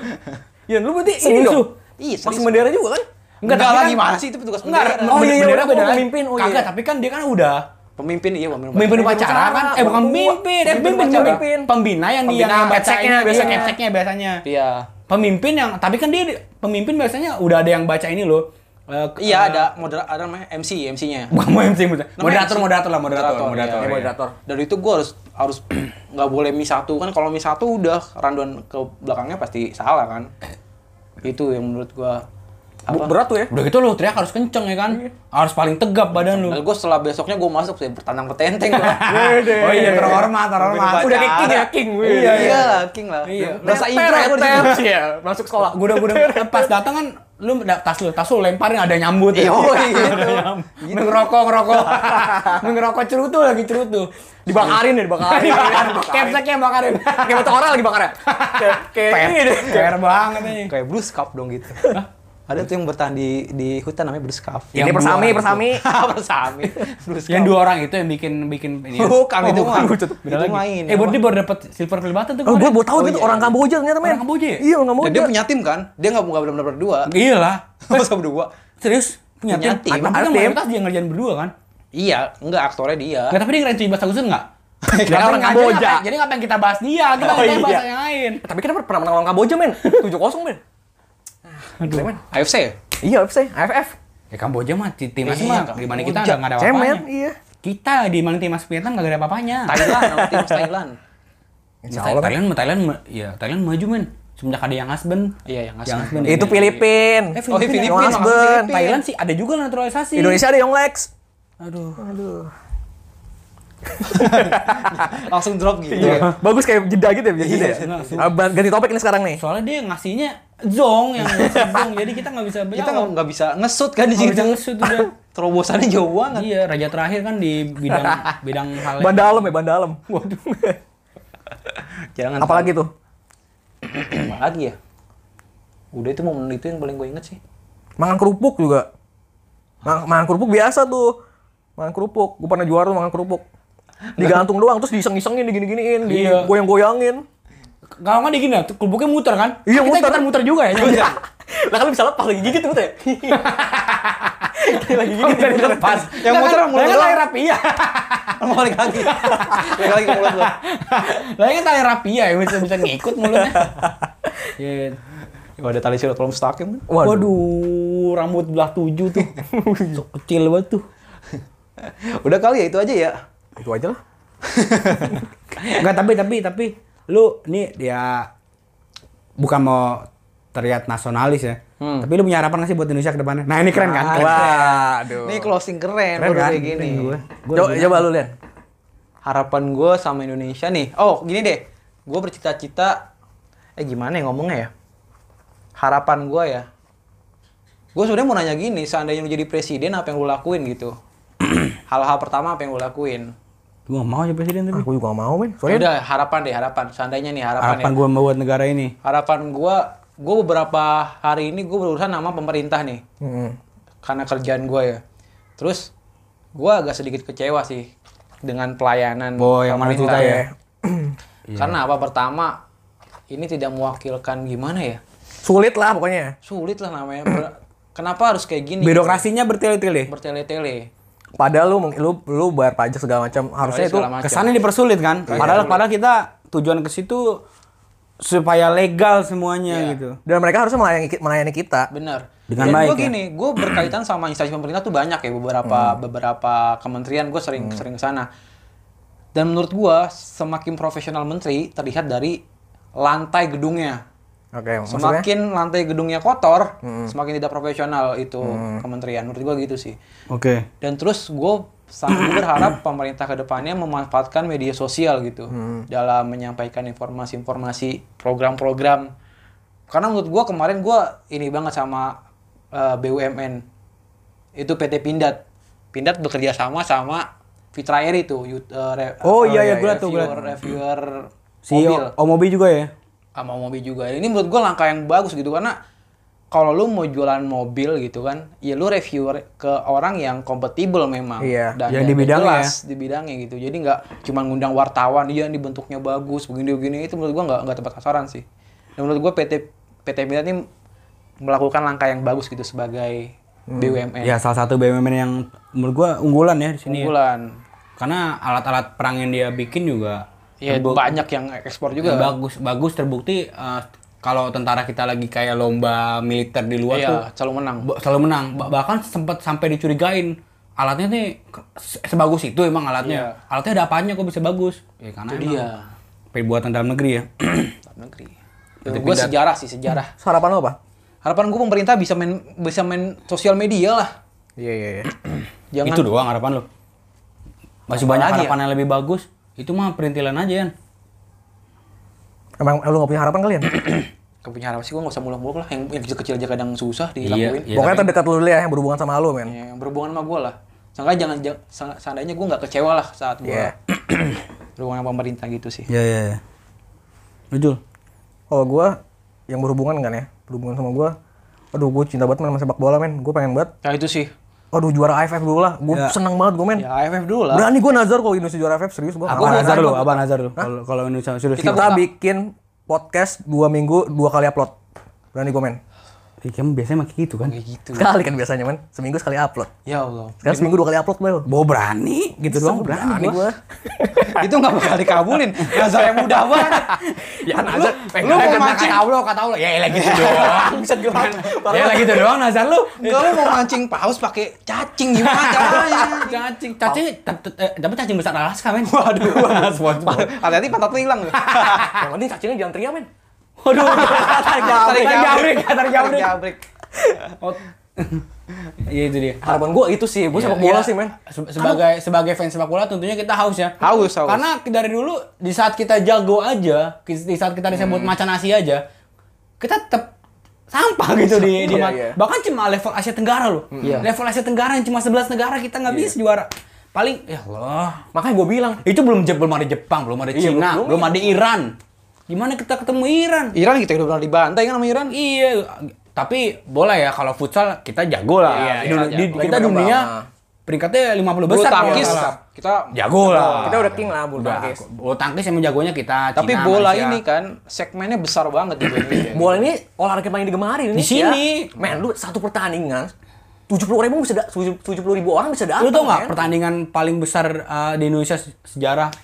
S2: Yan, lu berarti ini
S3: Serius lu?
S2: dong.
S1: Iya,
S2: Masih
S1: serius.
S2: bendera juga kan?
S1: Enggak,
S3: tapi
S1: lah,
S3: kan-
S1: gimana sih itu petugas
S3: Enggak,
S1: bendera.
S2: Oh, iya, iya,
S3: bendera
S2: udah,
S3: bukan
S2: gua
S3: pemimpin.
S2: pemimpin,
S3: Oh,
S2: oh,
S3: iya.
S2: iya.
S3: Kagak, tapi kan dia kan udah
S1: Pemimpin iya pemimpin.
S3: pemimpin upacara kan. Eh, bukan
S2: Pemimpin
S3: pemimpin,
S2: upacara.
S3: eh, pemimpin,
S2: Pemimpin
S3: pemimpin. Pembina yang dia
S2: Pembina,
S3: yang
S2: kepseknya biasanya.
S3: kepseknya biasanya.
S1: Iya.
S3: Pemimpin yang tapi kan dia di- pemimpin biasanya udah ada yang baca ini loh. Eh, ke-
S1: Iya
S3: eh,
S1: ada moderator ada namanya MC MC-nya.
S3: bukan mau MC moderator moderator
S1: MC.
S3: moderator lah moderator
S1: Moderator,
S3: moderator,
S1: iya.
S3: iya.
S2: moderator.
S1: Dari itu gue harus harus nggak boleh mi satu kan kalau mi satu udah rundown ke belakangnya pasti salah kan. Itu yang menurut gue apa?
S2: Bu- Berat tuh ya.
S3: udah gitu lo teriak harus kenceng ya kan harus paling tegap badan lu
S1: gue setelah besoknya gue masuk saya bertandang petenteng gua.
S3: oh iya terhormat terhormat
S1: Udah
S2: Udah kayak king ya,
S1: Cara.
S2: king.
S1: iya, iya lah, king lah.
S3: Iya.
S1: Rasa
S2: Ter- ter-
S1: introvert gitu.
S2: ter-
S1: itu.
S2: Iya, masuk sekolah.
S3: gua udah gua udah pas datang kan lu da- tas lu tas lu lemparin ada nyambut
S1: Iya, oh, iya,
S3: Ada
S1: gitu.
S3: nyambut. ngerokok ngerokok ngerokok cerutu lagi cerutu
S2: Dibakarin deh, dibakarin.
S3: kepsek yang bakarin
S2: Kayak batu orang lagi bakar ya. Kayak- Kayak ini deh.
S3: fair banget ini
S1: Kayak Bruce Cup dong gitu. Ada tuh yang bertahan di di hutan namanya Bruce Cup.
S3: Yang
S2: Ini persami,
S3: dua
S2: persami.
S1: Persami. Bruce
S3: yang
S1: Cup.
S3: dua orang itu yang bikin bikin ini ya?
S1: Bukan, itu
S3: bukan.
S1: mah.
S3: Beda
S1: Itu
S3: lagi.
S1: main,
S3: eh
S1: yang
S3: buat
S1: apa?
S3: dia baru dapet silver play button tuh
S2: Oh, gue
S3: kemarin.
S2: bawa tahu itu orang Kamboja ternyata men.
S3: Orang Kamboja ya?
S2: Iya, orang Kamboja.
S1: Dan dia punya tim kan? Dia nggak nggak benar-benar berdua.
S3: iya lah
S1: Masa berdua?
S3: serius punya,
S1: Punya tim.
S3: tim, Tapi
S2: Ada
S3: kan
S2: tim.
S3: mayoritas dia ngerjain berdua kan
S1: Iya, enggak aktornya dia.
S3: Nggak, tapi dia ngerain cuy bahasa khusus nggak?
S2: Karena orang
S3: ngajarin
S2: Kamboja.
S3: ngapain- Jadi ngapain kita bahas dia? Kita
S2: Oh,
S3: bahas
S2: iya.
S3: bahasa yang lain.
S2: Tapi kita pernah menang lawan Kamboja men. 7-0 men.
S3: Aduh.
S2: men.
S1: AFC. ya?
S2: Iya, AFC, AFF.
S3: Ya Kamboja mah tim- timnas
S1: Iya,
S3: mah
S1: Kamboja.
S3: gimana kita nggak nggak ada apa-apanya.
S2: Cemen, iya.
S3: Kita di mana timnas Vietnam nggak ada apa-apanya.
S1: Thailand, sama tim Thailand.
S2: Insya
S3: Thailand,
S2: Allah, men.
S3: Thailand, Thailand, ma- ya Thailand maju men. Semenjak ada yang husband.
S1: Iya, yang husband.
S3: ya.
S2: Itu Filipin. Oh, iya,
S3: Eh, Filipina.
S1: Filipina,
S2: Yang
S1: maksudnya
S2: husband.
S1: Filipina.
S3: Thailand sih ada juga naturalisasi.
S2: Indonesia ada Young Lex.
S3: Aduh.
S1: Langsung drop gitu.
S3: Iya.
S1: ya.
S2: Iya. Bagus kayak jeda gitu ya. Gitu ya. Ah, ban- Ganti topik nih sekarang nih.
S3: Soalnya dia ngasihnya zong yang ngasih zong. Jadi kita nggak bisa
S1: Kita nggak nggak bisa ngesut kan di
S3: nggak bisa
S1: situ.
S3: ngesut udah.
S1: Terobosannya jauh banget.
S3: Iya, raja terakhir kan di bidang bidang hal
S2: Ban dalam ya, ban dalam. Waduh.
S1: Jangan.
S2: Apalagi tuh?
S1: Apalagi ya? Udah itu momen itu yang paling gue inget sih.
S2: Makan kerupuk juga. Ma- Makan kerupuk biasa tuh. Makan kerupuk. Gue pernah juara tuh makan kerupuk. Digantung doang, terus diseng-isengin, digini-giniin,
S3: Iya.
S2: digoyang-goyangin.
S3: Kalau nggak di gini, tuh kelubuknya muter kan?
S2: Iya,
S3: Kita
S2: muter.
S3: ikutan muter juga ya. Iya.
S2: Lah kan lu bisa lepas lagi gigit tuh ya. lagi gigit
S3: Kita
S2: diputer.
S3: lepas.
S1: Yang
S3: Lah
S1: muter
S3: kan-
S1: yang mulut
S3: lah kan
S1: doang.
S3: tali rapia.
S1: Balik lagi. Balik lagi ke mulut lo.
S3: Lah kan tali rapia ya bisa bisa ngikut mulutnya. Iya.
S1: Ya, ada tali silat kolom stuck kan.
S2: Waduh.
S3: Waduh, rambut belah tujuh tuh. So kecil banget tuh.
S1: Udah kali ya itu aja ya.
S2: Itu aja lah.
S3: Enggak, tapi tapi tapi lu nih ya bukan mau terlihat nasionalis ya.
S2: Hmm.
S3: Tapi lu punya harapan nggak sih buat Indonesia ke depannya? Nah, ini keren kan? Keren.
S2: Waduh.
S1: Ini closing keren,
S3: Keren
S1: baru
S3: kan?
S1: kayak gini.
S3: Keren gue.
S2: Coba, coba lu lihat.
S1: harapan gue sama Indonesia nih. Oh, gini deh. Gue bercita-cita eh gimana ya ngomongnya ya? Harapan gue ya. Gue sebenarnya mau nanya gini, seandainya lu jadi presiden apa yang lu lakuin gitu? Hal-hal pertama apa yang lu lakuin?
S3: Gua nggak mau jadi presiden tapi.
S2: Aku juga nggak mau men.
S1: Ya
S2: Soalnya
S1: udah harapan deh, harapan. Seandainya nih harapan,
S3: Harapan
S1: ya.
S3: gua membuat negara ini.
S1: Harapan gue, gue beberapa hari ini gue berurusan sama pemerintah nih.
S2: Mm-mm.
S1: karena kerjaan gue ya. Terus gue agak sedikit kecewa sih dengan pelayanan
S3: Oh, yang mana
S1: pemerintah
S3: cerita ya? Iya.
S1: Karena apa pertama ini tidak mewakilkan gimana ya?
S2: sulit lah pokoknya.
S1: Sulit lah namanya. Ber- Kenapa harus kayak gini?
S3: Birokrasinya bertele-tele.
S1: Bertele-tele.
S2: Padahal lu mungkin lu lu bayar pajak segala macam harusnya itu
S1: segala macam. Iya.
S3: Kesannya dipersulit kan? Padahal padahal kita tujuan ke situ supaya legal
S1: Iya.
S3: semuanya gitu.
S2: dan mereka harusnya melayani ki- melayani kita.
S1: Bener.
S3: Dengan
S1: Dan
S3: baik,
S1: gue
S3: ya? Hmm.
S1: gini, gue berkaitan sama instansi pemerintah tuh banyak ya beberapa beberapa kementerian gue sering sering kesana. Dan menurut gue semakin profesional menteri terlihat dari lantai gedungnya.
S2: Oke, maksudnya
S1: semakin lantai gedungnya kotor,
S3: Hmm.
S1: semakin tidak profesional itu kementerian. Menurut gua gitu sih.
S3: Oke.
S1: Dan terus gue sangat berharap pemerintah kedepannya memanfaatkan media sosial gitu
S3: Hmm.
S1: dalam menyampaikan informasi-informasi program-program. Karena menurut gua kemarin gua ini banget sama eh, BUMN itu PT Pindad. Pindad bekerja sama sama Fitra Air itu. yut- eh, re-
S3: Oh, iya,
S1: eh,
S3: iya, gua liat tuh, gua liat. Hmm.
S1: reviewer, reviewer
S3: Si
S1: mobil
S3: O- Omobi juga ya?
S1: sama mobil juga. Ini menurut gua langkah yang bagus gitu karena kalau lu mau jualan mobil gitu kan, ya lu reviewer ke orang yang kompatibel memang
S2: Iya,
S3: yang di bidangnya ya.
S1: jelas di bidangnya gitu. Jadi nggak cuma ngundang wartawan, iya ini bentuknya bagus, begini-begini itu menurut gua nggak nggak tepat sasaran sih. Dan menurut gua PT PT Bina ini melakukan langkah yang bagus gitu sebagai BUMN
S3: Ya salah satu BUMN yang menurut gua unggulan ya di
S1: Eh.
S3: sini. ya.
S1: unggulan.
S3: Karena alat-alat perang yang dia bikin juga
S1: Ya banyak yang ekspor juga.
S3: bagus bagus terbukti eh, kalau tentara kita lagi kayak lomba militer di luar tuh
S1: Iya, calon menang.
S3: ba- selalu menang Ba- bahkan sempat sampai dicurigain alatnya nih ke- se- sebagus itu emang alatnya alatnya ada apanya kok bisa bagus ya
S1: Iya.
S3: karena
S1: Itu
S3: emang
S1: dia.
S3: perbuatan dalam negeri ya
S1: Dalam negeri. Menurut gua sejarah sih, sejarah.
S2: harapan lu apa?
S1: Harapan gue pemerintah bisa main bisa main sosial media lah.
S2: Iya, iya, iya.
S1: Jangan
S3: itu doang harapan lo masih banyak
S1: lagi ya?
S3: harapan yang lebih bagus itu mah perintilan aja ya
S2: Emang lu gak punya harapan kalian?
S1: Gak punya harapan sih gue gak usah muluk-muluk lah. Yang, yang kecil-kecil aja kadang susah dilakuin.
S3: Iya,
S2: Pokoknya terdekat lu dulu ya yang berhubungan sama lu, men.
S1: Ya, yang berhubungan sama gue lah. Seenggaknya jangan, jangan se- seandainya gue nggak kecewa lah saat gue
S2: Iya.
S1: berhubungan sama pemerintah gitu sih.
S3: ya ya ya Lu, Jul?
S2: Kalau gua yang berhubungan kan ya, berhubungan sama gua. Aduh, gua cinta banget men sama sepak bola, men. Gua pengen banget.
S1: Ya itu sih.
S2: Aduh, juara AFF dulu lah. Gua seneng banget gua, men.
S1: Ya AFF dulu lah.
S2: Berani gua nazar kalau Indonesia juara AFF, serius gua.
S3: Abang Nazar lo, Abang Nazar lo. Kalau kalau Indonesia sudah
S2: Kita, bikin podcast dua minggu, dua kali upload. Berani gua, men.
S3: Ya, kamu biasanya pakai gitu kan?
S1: Kayak gitu.
S2: Sekali kan biasanya, men. Seminggu sekali upload.
S1: Ya Allah.
S2: Sekarang seminggu dua kali upload, bro.
S3: Bawa berani gitu doang
S2: Berani
S3: berani.
S2: gua.
S1: itu nggak bakal dikabulin. Nazar yang mudah banget.
S3: Ya Nazar,
S1: lu mau
S3: kata
S1: mancing-
S3: kata Allah, kata Allah. Ya elah gitu doang.
S2: Bisa gelang.
S3: Ya elah gitu doang Nazar lu.
S1: Enggak lu mau mancing paus pakai cacing gimana caranya?
S3: Cacing, cacing, tapi- eh, tapi cacing besar Alaska men. Waduh, SpongeBob.
S1: Hati-hati pantat lu hilang. loh.
S2: Yang penting cacingnya jangan teriak, men.
S3: Waduh, tarik jabrik, tarik jabrik, tarik jabrik.
S1: jabrik. Oh.
S3: Ot- Iya itu dia.
S2: Harapan gua itu sih, gua sepak bola
S3: Iya,
S2: sih, men.
S3: se- sebagai sebagai fans sepak bola tentunya kita haus ya.
S1: Haus, haus.
S3: Karena dari dulu di saat kita jago aja, ki- di saat kita disebut
S2: Hmm.
S3: macan Asia aja, kita tetap sampah gitu di, di
S2: Iya,
S3: mat-
S2: iya. Hmm.
S3: bahkan cuma level Asia Tenggara loh.
S1: Iya.
S3: Level Asia Tenggara yang cuma 11 negara kita nggak bisa juara. Paling ya Allah.
S2: Iya. Makanya gua bilang,
S3: Itu belum Je- belum ada Jepang, belum ada
S2: Iya,
S3: Cina,
S2: belum-
S3: belum ada Iran. Gimana kita ketemu Iran?
S1: Iran kita udah pernah dibantai kan sama Iran?
S3: Iya, tapi bola ya kalau futsal kita jago lah.
S1: Iya,
S3: Di dunia-
S1: iya,
S3: di-
S1: jago.
S3: kita
S2: Lagi
S3: dunia
S2: berkembang.
S3: peringkatnya 50
S1: Bulu
S3: besar. kalau
S1: tangkis
S3: nggak salah.
S1: kita
S3: jago lah.
S2: Kita udah king lah, bulu
S3: Udah,
S2: tangkis.
S3: Bulu tangkis yang jagonya kita.
S1: Tapi
S3: Cina,
S1: bola
S3: Malaysia.
S1: ini kan segmennya besar banget di Indonesia.
S2: bola ini olahraga paling digemari di Indonesia.
S3: sini.
S2: Men, lu satu pertandingan 70 ribu bisa da- 70 ribu orang bisa datang.
S3: Lu tau nggak
S2: men.
S3: pertandingan paling besar uh, di Indonesia se- sejarah?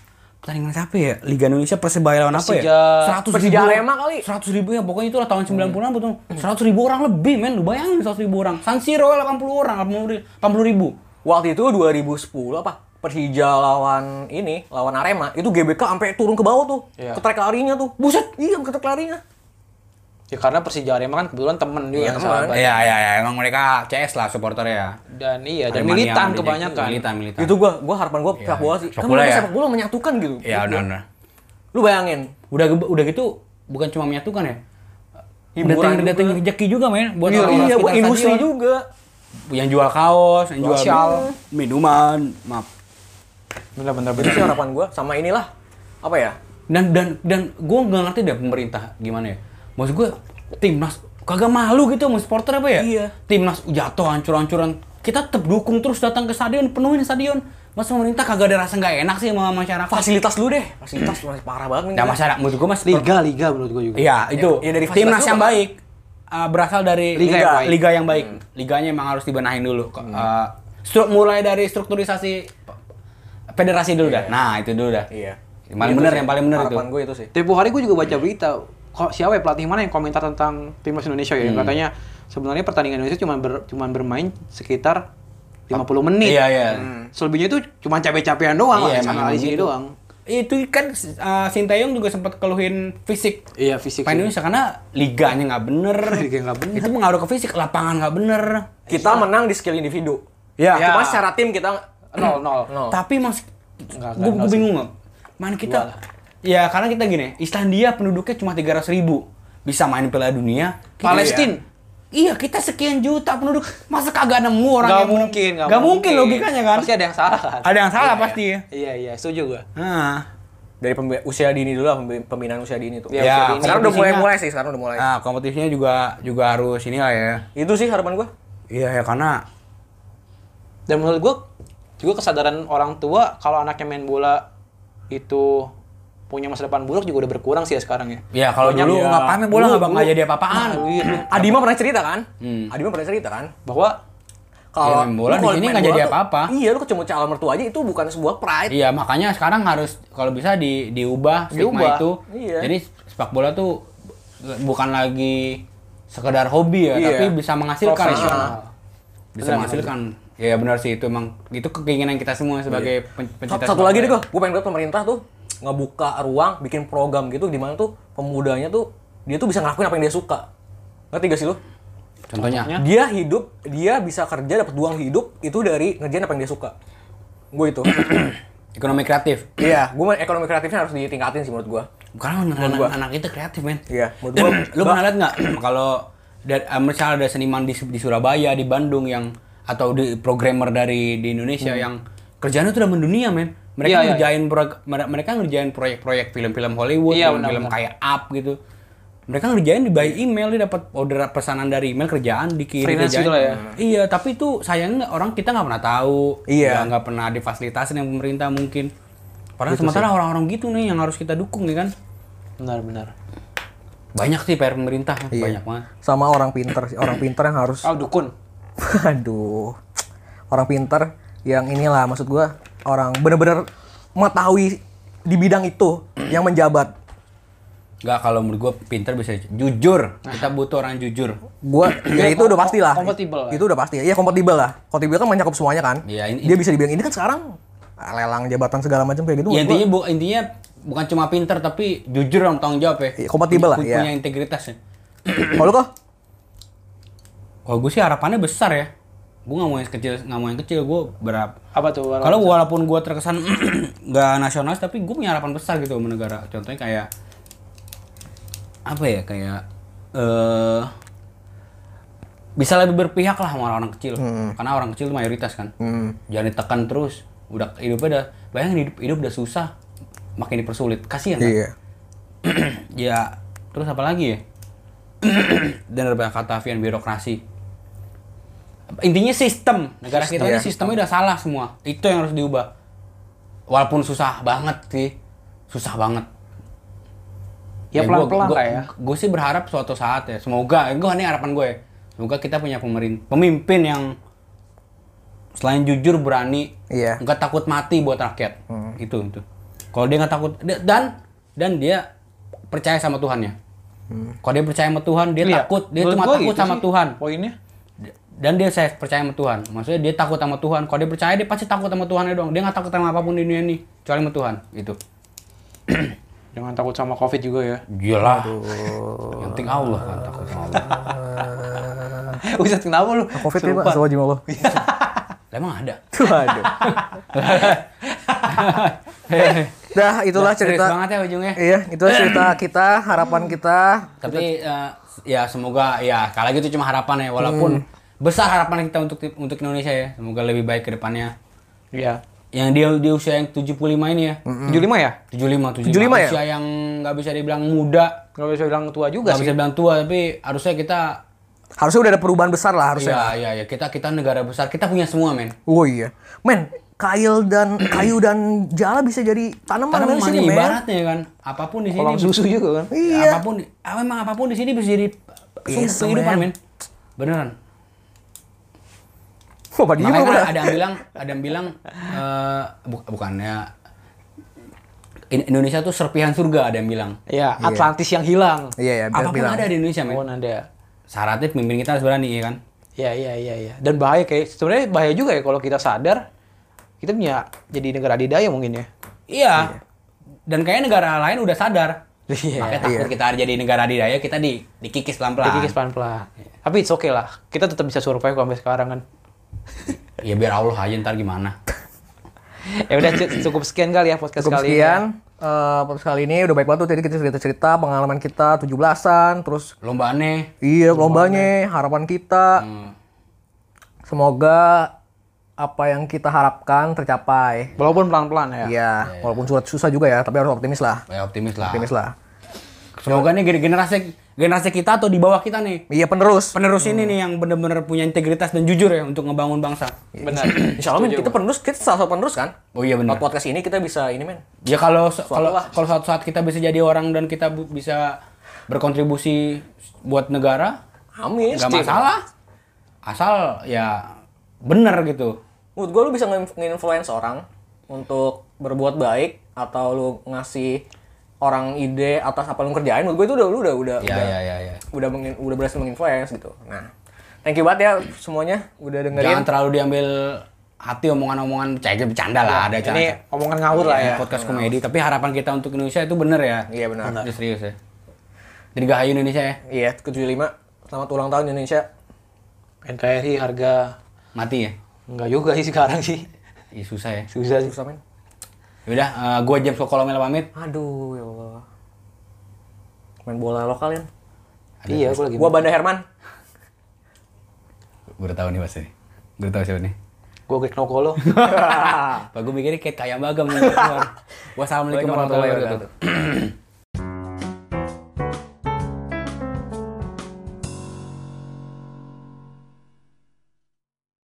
S3: Pertandingan siapa ya? Liga Indonesia Persebaya lawan apa ya?
S1: Persija-
S3: 100
S2: Persija Arema kali. Hmm.
S3: 100 ribu ya, pokoknya itulah tahun 90-an betul. 100 ribu orang lebih, men. Lu bayangin 100 ribu orang. San Siro 80 orang, 80 ribu.
S2: Waktu itu 2010 apa? Persija lawan ini, lawan Arema, itu GBK sampai turun ke bawah tuh.
S1: Iya.
S2: Ke track larinya tuh. Buset, iya ke track larinya.
S1: Ya karena Persija Arema kan kebetulan temen juga
S2: Iya,
S1: kan,
S2: temen.
S1: sahabat.
S3: Iya, iya, iya. Emang mereka CS lah supporternya ya.
S1: Dan iya, dan
S3: Aremania,
S1: militan
S3: Madrid,
S1: kebanyakan.
S3: Militan, militan.
S2: Itu gua gua harapan gua sepak bola sih.
S3: Sepak
S2: Kan
S3: bola
S2: mereka
S3: ya.
S2: sepak bola menyatukan gitu.
S3: Iya, udah, udah.
S2: Lu bayangin.
S3: Udah ge- udah gitu bukan cuma menyatukan ya.
S2: Hiburan
S3: Datang datang rezeki juga men buat
S2: Iya,
S3: orang-orang
S2: iya, buat
S3: sekitar
S2: industri
S3: stadion.
S2: juga.
S3: Yang jual kaos, yang jual
S1: Sosial.
S3: minuman, maaf.
S1: Bener-bener
S2: Itu sih harapan gua sama inilah apa ya?
S3: Dan dan dan gua nggak ngerti deh pemerintah gimana ya. Maksud gua timnas kagak malu gitu mau supporter apa ya?
S2: Iya.
S3: Timnas jatuh hancur-hancuran. Kita tetap dukung terus datang ke stadion, penuhin stadion. Mas pemerintah kagak ada rasa nggak enak sih sama masyarakat.
S2: Fasilitas lu deh. Fasilitas lu masih parah banget nih.
S3: Ya masyarakat menurut gua mas
S1: Liga, liga menurut gue juga.
S3: Iya, itu.
S2: ya dari fasilitas
S3: timnas
S2: juga
S3: yang
S2: kan?
S3: baik uh, berasal dari
S1: Liga
S3: liga, ya?
S1: yang baik.
S3: liga yang baik. Liganya emang harus dibenahin dulu. Ko- uh, stru- mulai dari strukturisasi p- federasi dulu dah. Nah, itu dulu dah.
S2: Iya.
S3: Yang paling
S2: Itu
S3: bener,
S2: sih.
S3: yang paling bener itu.
S2: Harapan gua itu sih.
S1: Tempo hari gue juga baca berita, kok siapa ya pelatih mana yang komentar tentang timnas Indonesia
S3: Hmm.
S1: ya? Katanya sebenarnya pertandingan Indonesia cuma ber- cuma bermain sekitar 50 menit.
S3: Iya, iya.
S1: Hmm. Selebihnya itu cuma capek-capean doang, iya,
S3: Iya, emang
S1: sama
S3: gitu.
S1: doang.
S3: Itu kan uh, Sintayong juga sempat keluhin fisik.
S1: Iya, fisik.
S3: Pemain Indonesia karena liganya nggak bener.
S1: Liga nggak bener.
S3: Itu pengaruh ke fisik, lapangan nggak bener.
S2: Kita menang di skill individu.
S3: Ya.
S2: Cuma secara tim kita
S1: nol nol.
S2: nol.
S3: Tapi mas,
S1: Oh. Nggak,
S3: gue
S1: nggak sih.
S3: bingung nggak. Man kita, ya karena kita gini, Islandia penduduknya cuma 300 ribu bisa main Piala Dunia.
S1: Gitu
S3: Kita-
S1: Palestina.
S3: Iya kita sekian juta penduduk, masa kagak nemu orang
S1: Nggak
S3: yang menang?
S1: mungkin, nggak
S3: Nggak mungkin logikanya kan.
S1: Pasti ada yang salah kan?
S3: Ada yang salah pasti. ya.
S1: Iya, iya, setuju gue.
S3: Nah,
S2: Dari pembe- usia dini dulu lah pembe- pembinaan usia dini tuh.
S1: Iya,
S3: Ya,
S1: usia dini.
S2: Sekarang udah mulai
S3: kompetisinya-
S2: mulai sih, sekarang udah mulai.
S3: nah, kompetisinya juga juga harus ini lah ya.
S2: Itu sih harapan gua.
S3: Iya ya karena
S1: dan menurut gue juga kesadaran orang tua kalau anaknya main bola itu punya masa depan buruk juga udah berkurang sih ya sekarang ya.
S3: ya kalau
S1: Banyak
S3: dulu
S1: ya.
S3: nggak paham ya bola
S1: Dulu,
S3: nggak bakal
S1: dulu.
S3: jadi apa-apaan.
S1: Nah, iya, iya.
S2: Adima pernah cerita kan?
S3: Hmm.
S2: Adima pernah cerita kan?
S1: Bahwa
S3: Iya, main
S2: lu
S3: bola di
S2: kalau main
S3: sini nggak
S2: bola
S3: jadi
S2: tuh-
S3: apa-apa.
S2: Iya, lu ketemu calon mertua aja itu bukan sebuah pride.
S3: Iya makanya sekarang harus kalau bisa di diubah stigma
S1: Diubah.
S3: itu.
S2: Iya.
S3: Jadi sepak bola tuh bukan lagi sekedar hobi ya,
S2: Iya.
S3: tapi bisa menghasilkan.
S1: Profesional.
S3: Bisa menghasilkan. Iya benar sih itu emang itu keinginan kita semua sebagai pen-
S2: Satu,
S3: pencinta
S2: Iya. satu
S3: sepak
S2: lagi deh
S3: bola.
S2: gua, gua pengen buat pemerintah tuh ngebuka ruang bikin program gitu di mana tuh pemudanya tuh dia tuh bisa ngelakuin apa yang dia suka. Ngerti gak sih lu?
S3: Contohnya.
S1: Contohnya?
S2: Dia hidup, dia bisa kerja dapat uang hidup itu dari ngerjain apa yang dia suka. Gue itu.
S3: ekonomi kreatif.
S2: Iya, gue ekonomi kreatifnya harus ditingkatin sih menurut gue.
S3: Karena anak, anak itu kreatif men.
S2: Iya, menurut gua-
S3: Lu pernah lihat nggak kalau da- eh, misalnya ada seniman di, di Surabaya, di Bandung yang atau di programmer dari di Indonesia yang kerjanya tuh udah mendunia men. Mereka
S1: Iya, iya,
S3: ngerjain proyek- mere- mereka ngerjain proyek-proyek film-film Hollywood,
S1: Iya,
S3: film-film
S1: benar-benar.
S3: kayak Up gitu. Mereka ngerjain di by email, dia dapat order pesanan dari email kerjaan dikirim
S1: Freelance
S3: kerjaan.
S1: gitu lah ya.
S3: Iya, tapi itu sayangnya orang kita nggak pernah tahu,
S2: Iya.
S3: nggak- nggak pernah difasilitasin yang pemerintah mungkin. Padahal sementara orang-orang gitu nih yang harus kita dukung ya kan
S1: benar-benar.
S3: banyak sih PR pemerintah
S2: Iya.
S3: banyak banget
S2: Sama orang pinter sih, orang pinter yang harus
S1: Oh dukun.
S2: Aduh, orang pintar yang inilah maksud gua orang bener-bener mengetahui di bidang itu yang menjabat.
S3: nggak kalau menurut gue pinter bisa jujur kita
S2: Nah.
S3: butuh orang jujur
S2: Gua ya itu udah pasti lah.
S1: Kompatibel kan? lah.
S2: Itu udah pasti. Iya kompatibel lah. Kompatibel kan mencakup semuanya kan.
S3: Iya, ini-
S2: Dia bisa dibilang ini kan sekarang ah, lelang jabatan segala macam kayak gitu.
S3: ya,
S2: menurut gua
S3: intinya bu intinya bukan cuma pinter tapi jujur orang tanggung jawab ya
S2: Iya, kompatibel lah,
S3: Pu-
S2: iya.
S3: punya integritas ya
S2: Kalau lu kok
S3: kalau gue sih harapannya besar ya gue nggak mau yang kecil nggak mau yang kecil gue berharap
S1: Apa tuh? Warna-
S3: kalau walaupun gue terkesan nggak nasionalis tapi gue punya harapan besar gitu sama negara contohnya kayak apa ya kayak eh bisa lebih berpihak lah sama orang-orang kecil karena orang kecil itu mayoritas kan jangan ditekan terus udah hidupnya udah bayangin hidup hidup udah susah makin dipersulit kasihan kan?
S2: Iya.
S3: ya terus apa lagi ya dan ada banyak kata Fian birokrasi intinya sistem negara kita ini
S2: Sistem.
S3: sistemnya udah salah semua itu yang harus diubah walaupun susah banget sih susah banget
S1: Ya, pelan-pelan lah ya.
S3: gue sih berharap suatu saat ya semoga gue ini harapan gue ya. semoga kita punya pemerintah pemimpin yang selain jujur berani
S2: Iya.
S3: nggak takut mati buat rakyat
S1: Hmm.
S3: itu itu kalau dia nggak takut dia- dan dan dia percaya sama Tuhannya
S1: Hmm.
S3: kalau dia percaya sama Tuhan dia
S1: Iya.
S3: takut dia
S1: Menurut
S3: cuma
S1: gua
S3: takut
S1: gitu
S3: sama
S1: sih
S3: Tuhan
S1: Poinnya.
S3: dan dia saya percaya sama Tuhan maksudnya dia takut sama Tuhan kalau dia percaya dia pasti takut sama Tuhan doang dia nggak takut sama apapun di dunia ini kecuali sama Tuhan itu
S1: Jangan takut sama covid juga ya.
S3: Gila. Yang penting Allah kan takut sama Allah.
S1: Ustaz kenapa lu?
S2: Covid nih pak,
S1: Serupa.
S2: astagfirullahaladzim Allah.
S3: Lah, Emang ada.
S2: Tuh, aduh. Dah, itulah
S3: Nah, serius
S2: cerita.
S3: banget ya ujungnya.
S2: Iya, itulah cerita kita, harapan kita.
S3: Tapi eh, ya semoga ya kalau gitu cuma harapan ya
S2: Hmm.
S3: walaupun besar harapan kita untuk untuk Indonesia ya. Semoga lebih baik ke depannya.
S1: Iya.
S3: Yang dia di usia yang 75 ini ya.
S2: Hmm.
S1: 75 ya?
S3: 75 75,
S2: 75 ya?
S3: usia yang nggak bisa dibilang muda,
S1: Gak bisa bilang tua juga
S3: nggak
S1: sih.
S3: bisa dibilang tua tapi harusnya kita
S2: Harusnya udah ada perubahan besar lah harusnya.
S3: ya ya ya kita kita negara besar, kita punya semua men.
S2: Oh iya. Men, kail dan kayu dan jala bisa jadi tanaman,
S3: Karena
S2: men, di sini,
S3: mana
S2: men.
S3: ibaratnya kan, apapun di sini
S1: Kolam susu juga kan.
S2: Iya.
S3: apapun di- ah, memang apapun di sini bisa jadi sumber
S2: Yes,
S3: kehidupan
S2: man.
S3: men. Beneran.
S2: Wah, padi juga,
S3: Makanya kan
S2: Pak.
S3: ada yang bilang, ada yang bilang eh, bu- bukannya In- Indonesia tuh serpihan surga ada yang bilang.
S1: Iya, Atlantis yang hilang.
S2: Iya, iya, biar
S3: Apapun
S2: bilang.
S3: ada di Indonesia, men.
S1: Mohon ada.
S3: Syaratnya pemimpin kita harus berani, ya kan?
S1: Iya, iya, iya, iya. Dan bahaya kayak sebenarnya bahaya juga ya kalau kita sadar kita punya jadi negara adidaya mungkin ya.
S3: Iya. Dan kayaknya negara lain udah sadar.
S1: Iya.
S3: Makanya takut kita jadi negara adidaya, kita di dikikis pelan-pelan.
S1: Dikikis pelan-pelan.
S2: Iya.
S1: Tapi it's okay lah. Kita tetap bisa survive kok sampai sekarang kan.
S3: Ya biar Allah aja ntar gimana.
S1: Ya udah cu- cukup sekian kali ya podcast
S2: Cukup
S1: kali ini.
S2: sekian. Eh, podcast kali ini udah baik banget tuh tadi kita cerita-cerita pengalaman kita 17-an, terus
S3: Lomba aneh.
S2: iya lombanya, harapan kita.
S3: Hmm.
S2: Semoga apa yang kita harapkan tercapai.
S1: Walaupun pelan-pelan ya.
S2: Iya, walaupun surat susah juga ya, tapi harus optimis lah.
S3: Ya optimis lah.
S2: Optimis lah.
S3: Semoga nih gen- generasi generasi kita atau di bawah kita nih
S2: Iya, penerus.
S3: penerus ini nih yang bener-bener punya integritas dan jujur ya untuk ngebangun bangsa.
S1: Benar.
S2: Insya Allah men, kita penerus, kita salah satu penerus kan?
S3: Oh iya benar.
S2: Lewat podcast ini kita bisa ini men,
S3: Ya kalau kalau kalau suatu saat kita bisa jadi orang dan kita bu- bisa berkontribusi buat negara,
S2: amin.
S3: nggak masalah. Asal ya bener gitu.
S2: Menurut gue lu bisa nge- nge-influence orang untuk berbuat baik atau lu ngasih orang ide atas apa lu kerjain, menurut gue itu udah lu udah udah
S3: Ya
S2: udah,
S3: ya ya ya.
S2: udah, mengin- udah berhasil menginfluence gitu. Nah, thank you banget ya semuanya udah
S3: Jangan
S2: dengerin.
S3: terlalu diambil hati omongan-omongan cek
S2: Iya,
S3: bercanda lah ada
S1: Ini
S3: jangan
S1: omongan ngawur lah ya.
S3: podcast komedi tapi harapan kita untuk Indonesia itu bener ya.
S2: Iya benar.
S3: Ini serius ya. Dirgahayu Indonesia ya.
S2: Iya, ke-75. Selamat ulang tahun Indonesia.
S1: NKRI harga
S3: Mati ya.
S1: enggak juga sih sekarang sih.
S3: Ih, susah ya.
S1: Susah sih.
S2: Susah men.
S3: Yaudah, eh, gua James Kokolomel pamit.
S2: Aduh, ya Allah. Main bola lokal kan.
S1: Iya, aku lagi.
S2: Gua Banda Herman.
S3: Gue udah tau nih pasti. Gue udah tau siapa nih.
S1: Gua Greg Nokolo.
S3: Pak gue mikirnya kayak kayak bagam nih. keluar. Wassalamualaikum warahmatullahi wabarakatuh.